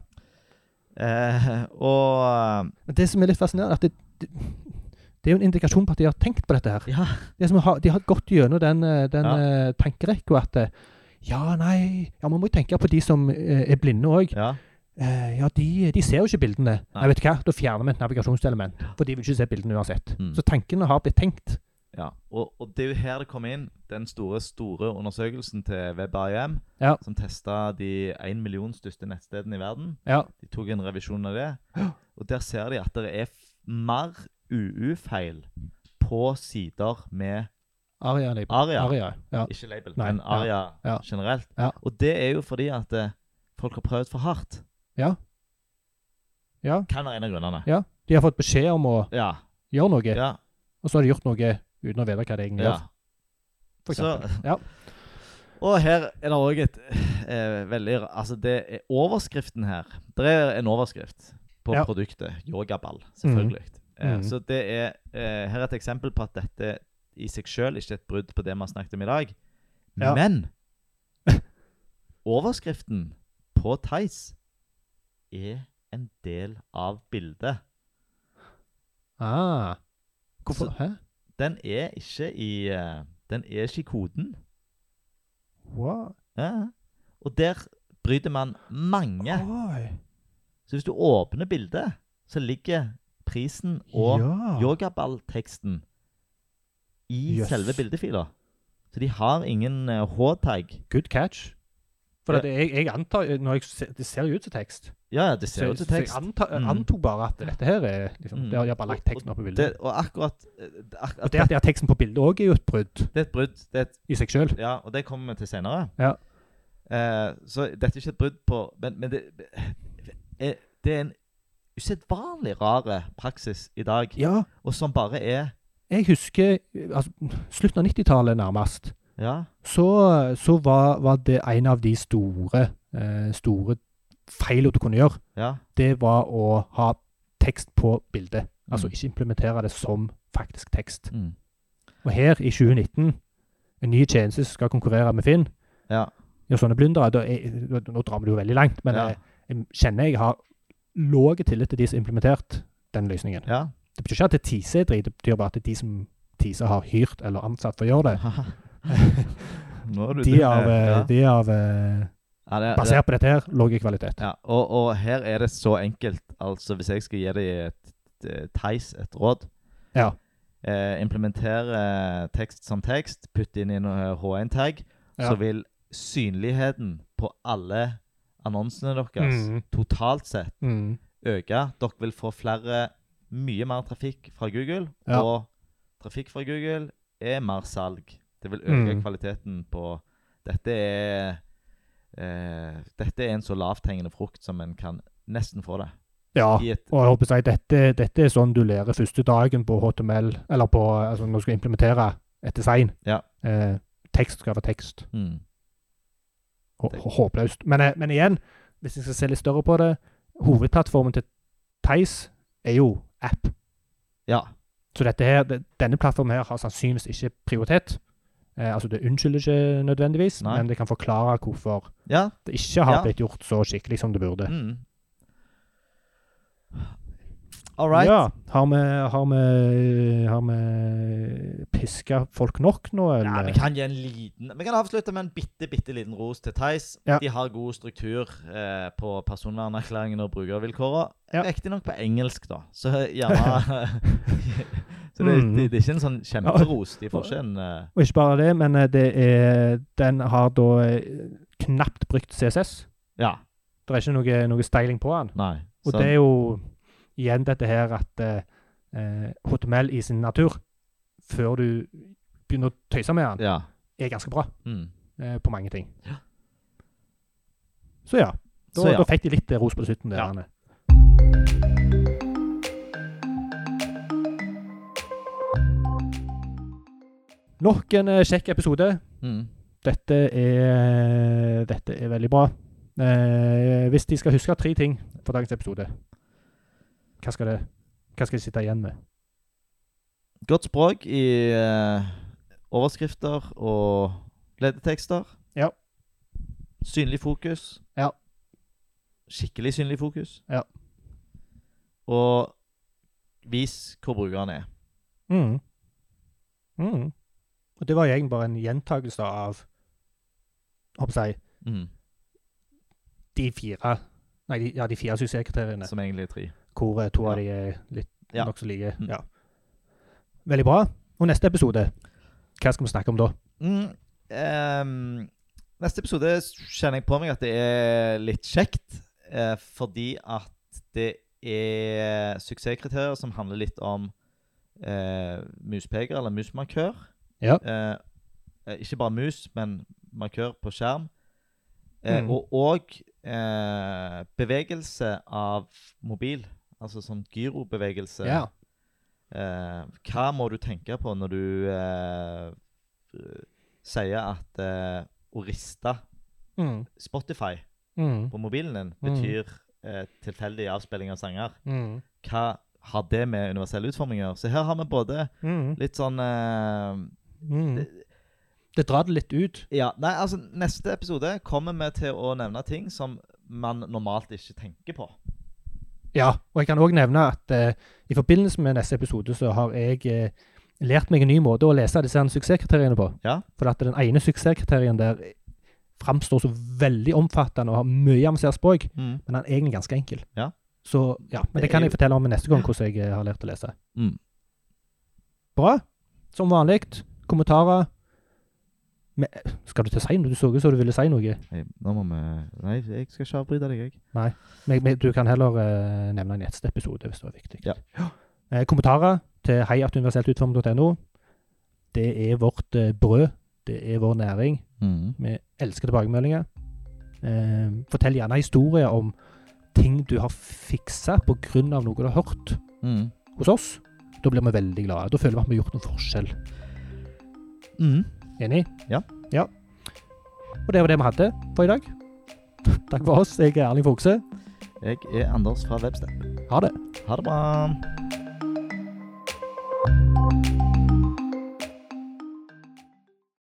[SPEAKER 1] Eh, og
[SPEAKER 2] Men det som er litt fascinerende, er at det, det, det er jo en indikasjon på at de har tenkt på dette her.
[SPEAKER 1] Ja.
[SPEAKER 2] Det som har, de har gått gjennom den, eh, den
[SPEAKER 1] Ja.
[SPEAKER 2] eh, tankerekka at eh, ja, nei Ja, man må jo tenke på de som eh, er blinde òg.
[SPEAKER 1] Ja.
[SPEAKER 2] Eh, ja, de, de ser jo ikke bildene.
[SPEAKER 1] Nei.
[SPEAKER 2] Nei, vet du hva? Da fjerner vi et navigasjonselement. For de vil ikke se bildene uansett.
[SPEAKER 1] Mm.
[SPEAKER 2] Så tankene har blitt tenkt.
[SPEAKER 1] Ja, og, og det er jo her det kom inn, den store store undersøkelsen til WebRIM,
[SPEAKER 2] Ja.
[SPEAKER 1] som testa de 1 million største nettstedene i verden.
[SPEAKER 2] Ja.
[SPEAKER 1] De tok en revisjon av det.
[SPEAKER 2] Ja.
[SPEAKER 1] Og der ser de at det er f- mer UU-feil på sider med
[SPEAKER 2] Aria. Leib.
[SPEAKER 1] Aria.
[SPEAKER 2] Aria. Ja.
[SPEAKER 1] Ikke label,
[SPEAKER 2] Nei,
[SPEAKER 1] men
[SPEAKER 2] ja,
[SPEAKER 1] Aria
[SPEAKER 2] ja.
[SPEAKER 1] generelt.
[SPEAKER 2] Ja.
[SPEAKER 1] Og det er jo fordi at eh, folk har prøvd for hardt.
[SPEAKER 2] ja.
[SPEAKER 1] Kan være en av grunnene.
[SPEAKER 2] Ja. De har fått beskjed om å
[SPEAKER 1] Ja.
[SPEAKER 2] gjøre noe,
[SPEAKER 1] ja,
[SPEAKER 2] og så har de gjort noe uten å vite hva de egentlig
[SPEAKER 1] ja.
[SPEAKER 2] gjør. For
[SPEAKER 1] Så-
[SPEAKER 2] eksempel. ja.
[SPEAKER 1] Og her er det òg et eh, veldig ra- Altså, det er overskriften her. Det er en overskrift på
[SPEAKER 2] Ja.
[SPEAKER 1] produktet. Yogaball, selvfølgelig. Eh,
[SPEAKER 2] Mhm.
[SPEAKER 1] Så det er eh, Her er et eksempel på at dette i seg sjøl ikke er et brudd på det vi har snakket om i dag.
[SPEAKER 2] Ja.
[SPEAKER 1] Men overskriften på Theis er en del av bildet.
[SPEAKER 2] Ah. Hvorfor? Hæ?
[SPEAKER 1] Den er ikke i eh, Den er ikke i koden.
[SPEAKER 2] Wow.
[SPEAKER 1] Ja. Og der bryter man mange
[SPEAKER 2] Oi.
[SPEAKER 1] Så hvis du åpner bildet, så ligger prisen og
[SPEAKER 2] ja.
[SPEAKER 1] yogaballteksten i
[SPEAKER 2] Jøss.
[SPEAKER 1] selve bildefila. Så de har ingen eh, H-tag.
[SPEAKER 2] Good catch. For
[SPEAKER 1] Ja.
[SPEAKER 2] at jeg, jeg antar Når jeg ser, Det ser jo ut som tekst.
[SPEAKER 1] Ja, ja, det ser
[SPEAKER 2] Så-
[SPEAKER 1] ut som
[SPEAKER 2] så jeg
[SPEAKER 1] tekst.
[SPEAKER 2] anta-
[SPEAKER 1] Mm.
[SPEAKER 2] antok bare at dette her er liksom,
[SPEAKER 1] Mm.
[SPEAKER 2] De har de har bare lagt teksten opp på bildet.
[SPEAKER 1] Det, og akkurat eh, det- ak
[SPEAKER 2] Og
[SPEAKER 1] at
[SPEAKER 2] det at
[SPEAKER 1] det,
[SPEAKER 2] de har teksten på bildet òg, er jo et brudd
[SPEAKER 1] det er et brudd. Det er et,
[SPEAKER 2] i seg sjøl.
[SPEAKER 1] ja, og det kommer vi til senere.
[SPEAKER 2] Ja.
[SPEAKER 1] Eh, så dette er ikke et brudd på Men, men det, eh, det er en usedvanlig rar praksis i dag,
[SPEAKER 2] Ja,
[SPEAKER 1] og som bare er
[SPEAKER 2] jeg husker eh, altså, slutten av 90-tallet nærmest.
[SPEAKER 1] Ja.
[SPEAKER 2] Så, så var, var det en av de store, eh, store feilene du kunne gjøre.
[SPEAKER 1] Ja.
[SPEAKER 2] Det var å ha tekst på bildet. Altså
[SPEAKER 1] Mm.
[SPEAKER 2] ikke implementere det som faktisk tekst.
[SPEAKER 1] Mm.
[SPEAKER 2] Og her i 2019, en ny tjeneste som skal konkurrere med Finn,
[SPEAKER 1] Ja.
[SPEAKER 2] gjør sånne blundere. Da er, da- nå drar vi det jo veldig langt, men
[SPEAKER 1] ja.
[SPEAKER 2] jeg, jeg kjenner jeg har lav tillit til de som har implementert den løsningen.
[SPEAKER 1] ja.
[SPEAKER 2] Det betyr ikke at det teaser er drit, det betyr bare at det er de som teaser har hyrt eller ansatt for å gjøre det.
[SPEAKER 1] Nå er du
[SPEAKER 2] De
[SPEAKER 1] dum,
[SPEAKER 2] av,
[SPEAKER 1] eh,
[SPEAKER 2] eh,
[SPEAKER 1] ja.
[SPEAKER 2] de av eh,
[SPEAKER 1] Ja, det, det,
[SPEAKER 2] Basert på dette her, lav kvalitet.
[SPEAKER 1] ja. Og, og her er det så enkelt. Altså, hvis jeg skal gi deg et, et Theis et råd
[SPEAKER 2] Ja.
[SPEAKER 1] eh, Implementer eh, tekst som tekst, putt inn i en eh, H1-tag,
[SPEAKER 2] Ja.
[SPEAKER 1] så vil synligheten på alle annonsene deres
[SPEAKER 2] Mm,
[SPEAKER 1] totalt sett
[SPEAKER 2] mm,
[SPEAKER 1] øke. Dere vil få flere mye mer trafikk fra Google,
[SPEAKER 2] Ja.
[SPEAKER 1] og trafikk fra Google er mer salg. Det vil øke
[SPEAKER 2] Mm.
[SPEAKER 1] kvaliteten på Dette er eh, Dette er en så lavthengende frukt som en kan nesten få det.
[SPEAKER 2] ja.
[SPEAKER 1] I et,
[SPEAKER 2] Og jeg håper å si, dette, dette er sånn du lærer første dagen på HTML, eller på, altså når du skal implementere et design.
[SPEAKER 1] Ja.
[SPEAKER 2] Eh, tekst skal være tekst.
[SPEAKER 1] mm,
[SPEAKER 2] Hå- hå- Håpløst. Men, eh, men igjen, hvis jeg skal se litt større på det, hovedplattformen til Theis er jo app.
[SPEAKER 1] ja.
[SPEAKER 2] Så dette her, det- denne plattformen her har sannsynligvis ikke prioritet. Eh, altså Det unnskylder ikke nødvendigvis,
[SPEAKER 1] Nei.
[SPEAKER 2] men det kan forklare hvorfor
[SPEAKER 1] ja
[SPEAKER 2] det ikke har
[SPEAKER 1] Ja.
[SPEAKER 2] blitt gjort så skikkelig som det burde.
[SPEAKER 1] mm. All right.
[SPEAKER 2] Ja, Har vi, har vi, har vi piske folk nok nå,
[SPEAKER 1] Ja,
[SPEAKER 2] eller?
[SPEAKER 1] vi kan gi en liten Vi kan avslutte med en bitte bitte liten ros til Theis.
[SPEAKER 2] Ja.
[SPEAKER 1] De har god struktur eh, på personvernerklæringen og brukervilkårene.
[SPEAKER 2] Ja.
[SPEAKER 1] Riktignok på engelsk, da, så gjerne Så det,
[SPEAKER 2] Mm.
[SPEAKER 1] det, det er ikke en sånn kjemperos. De får ikke en eh,
[SPEAKER 2] Og ikke bare det, men eh, det er, den har da eh, knapt brukt CSS.
[SPEAKER 1] Ja.
[SPEAKER 2] Det er ikke noe, noe styling på den.
[SPEAKER 1] Nei.
[SPEAKER 2] Og det er jo igjen dette her at eh, eh, HTML i sin natur, før du begynner å tøyse med den,
[SPEAKER 1] Ja.
[SPEAKER 2] er ganske bra
[SPEAKER 1] Mm.
[SPEAKER 2] eh, på mange ting. Så ja. Da,
[SPEAKER 1] Så ja.
[SPEAKER 2] da fikk de litt eh, ros på slutten der.
[SPEAKER 1] Ja.
[SPEAKER 2] Anne. Nok en eh, kjekk episode.
[SPEAKER 1] Mm.
[SPEAKER 2] Dette er, dette er veldig bra. Eh, hvis de skal huske tre ting for dagens episode, hva skal, det, hva skal de sitte igjen med?
[SPEAKER 1] Godt språk i eh, overskrifter og ledetekster.
[SPEAKER 2] Ja.
[SPEAKER 1] Synlig fokus.
[SPEAKER 2] Ja.
[SPEAKER 1] Skikkelig synlig fokus.
[SPEAKER 2] Ja.
[SPEAKER 1] Og vis hvor brukeren er.
[SPEAKER 2] Mm. Mm. Og det var jo egentlig bare en gjentakelse av håper jeg,
[SPEAKER 1] Mhm.
[SPEAKER 2] de fire nei, de, ja, de fire suksesskriteriene,
[SPEAKER 1] Som egentlig er tre.
[SPEAKER 2] hvor eh, to av de er litt
[SPEAKER 1] Ja.
[SPEAKER 2] nokså like.
[SPEAKER 1] Mm.
[SPEAKER 2] Ja. Veldig bra. Og neste episode, hva skal vi snakke om da?
[SPEAKER 1] Mm. ehm, neste episode kjenner jeg på meg at det er litt kjekt, eh, fordi at det er suksesskriterier som handler litt om eh, muspeker eller musmarkør.
[SPEAKER 2] Ja.
[SPEAKER 1] Eh, eh, ikke bare mus, men markør på skjerm. Eh,
[SPEAKER 2] Mm.
[SPEAKER 1] Og og, eh, bevegelse av mobil, altså sånn gyrobevegelse.
[SPEAKER 2] Ja.
[SPEAKER 1] Eh, hva må du tenke på når du eh, eh, sier at eh, å riste
[SPEAKER 2] Mm.
[SPEAKER 1] Spotify
[SPEAKER 2] Mm.
[SPEAKER 1] på mobilen din
[SPEAKER 2] Mm.
[SPEAKER 1] betyr eh, tilfeldig avspilling av sanger?
[SPEAKER 2] Mm.
[SPEAKER 1] Hva har det med universell utforming å gjøre? Så her har vi både
[SPEAKER 2] Mm.
[SPEAKER 1] litt sånn eh,
[SPEAKER 2] Mm. Det drar det litt ut.
[SPEAKER 1] Ja, nei, altså Neste episode kommer vi til å nevne ting som man normalt ikke tenker på.
[SPEAKER 2] Ja, og jeg kan òg nevne at eh, i forbindelse med neste episode så har jeg eh, lært meg en ny måte å lese disse her suksesskriteriene på.
[SPEAKER 1] Ja.
[SPEAKER 2] For at den ene suksesskriterien der framstår så veldig omfattende og har mye avansert språk,
[SPEAKER 1] Mm.
[SPEAKER 2] men den er egentlig ganske enkel.
[SPEAKER 1] Ja.
[SPEAKER 2] Så ja,
[SPEAKER 1] Det
[SPEAKER 2] Men det kan
[SPEAKER 1] er
[SPEAKER 2] jeg fortelle om neste gang, hvordan jeg eh, har lært å lese.
[SPEAKER 1] Mm.
[SPEAKER 2] Bra. Som vanlig. Kommentarer. Men, eh, skal du til å si noe? Du så ut som du ville si noe.
[SPEAKER 1] Nei, Nå må vi Nei, jeg skal ikke avbryte deg, jeg.
[SPEAKER 2] Men, men du kan heller eh, nevne en neste episode hvis det var viktig.
[SPEAKER 1] Ja.
[SPEAKER 2] Eh, kommentarer til heiatuniverseltutformet.no. Det er vårt eh, brød. Det er vår næring.
[SPEAKER 1] Mm.
[SPEAKER 2] Vi elsker tilbakemeldinger. Eh, fortell gjerne historier om ting du har fiksa pga. noe du har hørt
[SPEAKER 1] Mm.
[SPEAKER 2] hos oss. Da blir vi veldig glade. Da føler vi at vi har gjort en forskjell.
[SPEAKER 1] Mm.
[SPEAKER 2] Enig?
[SPEAKER 1] Ja.
[SPEAKER 2] ja. Og det var det vi hadde for i dag. Takk for oss. Jeg er Erling Fogse.
[SPEAKER 1] Jeg er Anders fra Webstep.
[SPEAKER 2] Ha det.
[SPEAKER 1] Ha det bra.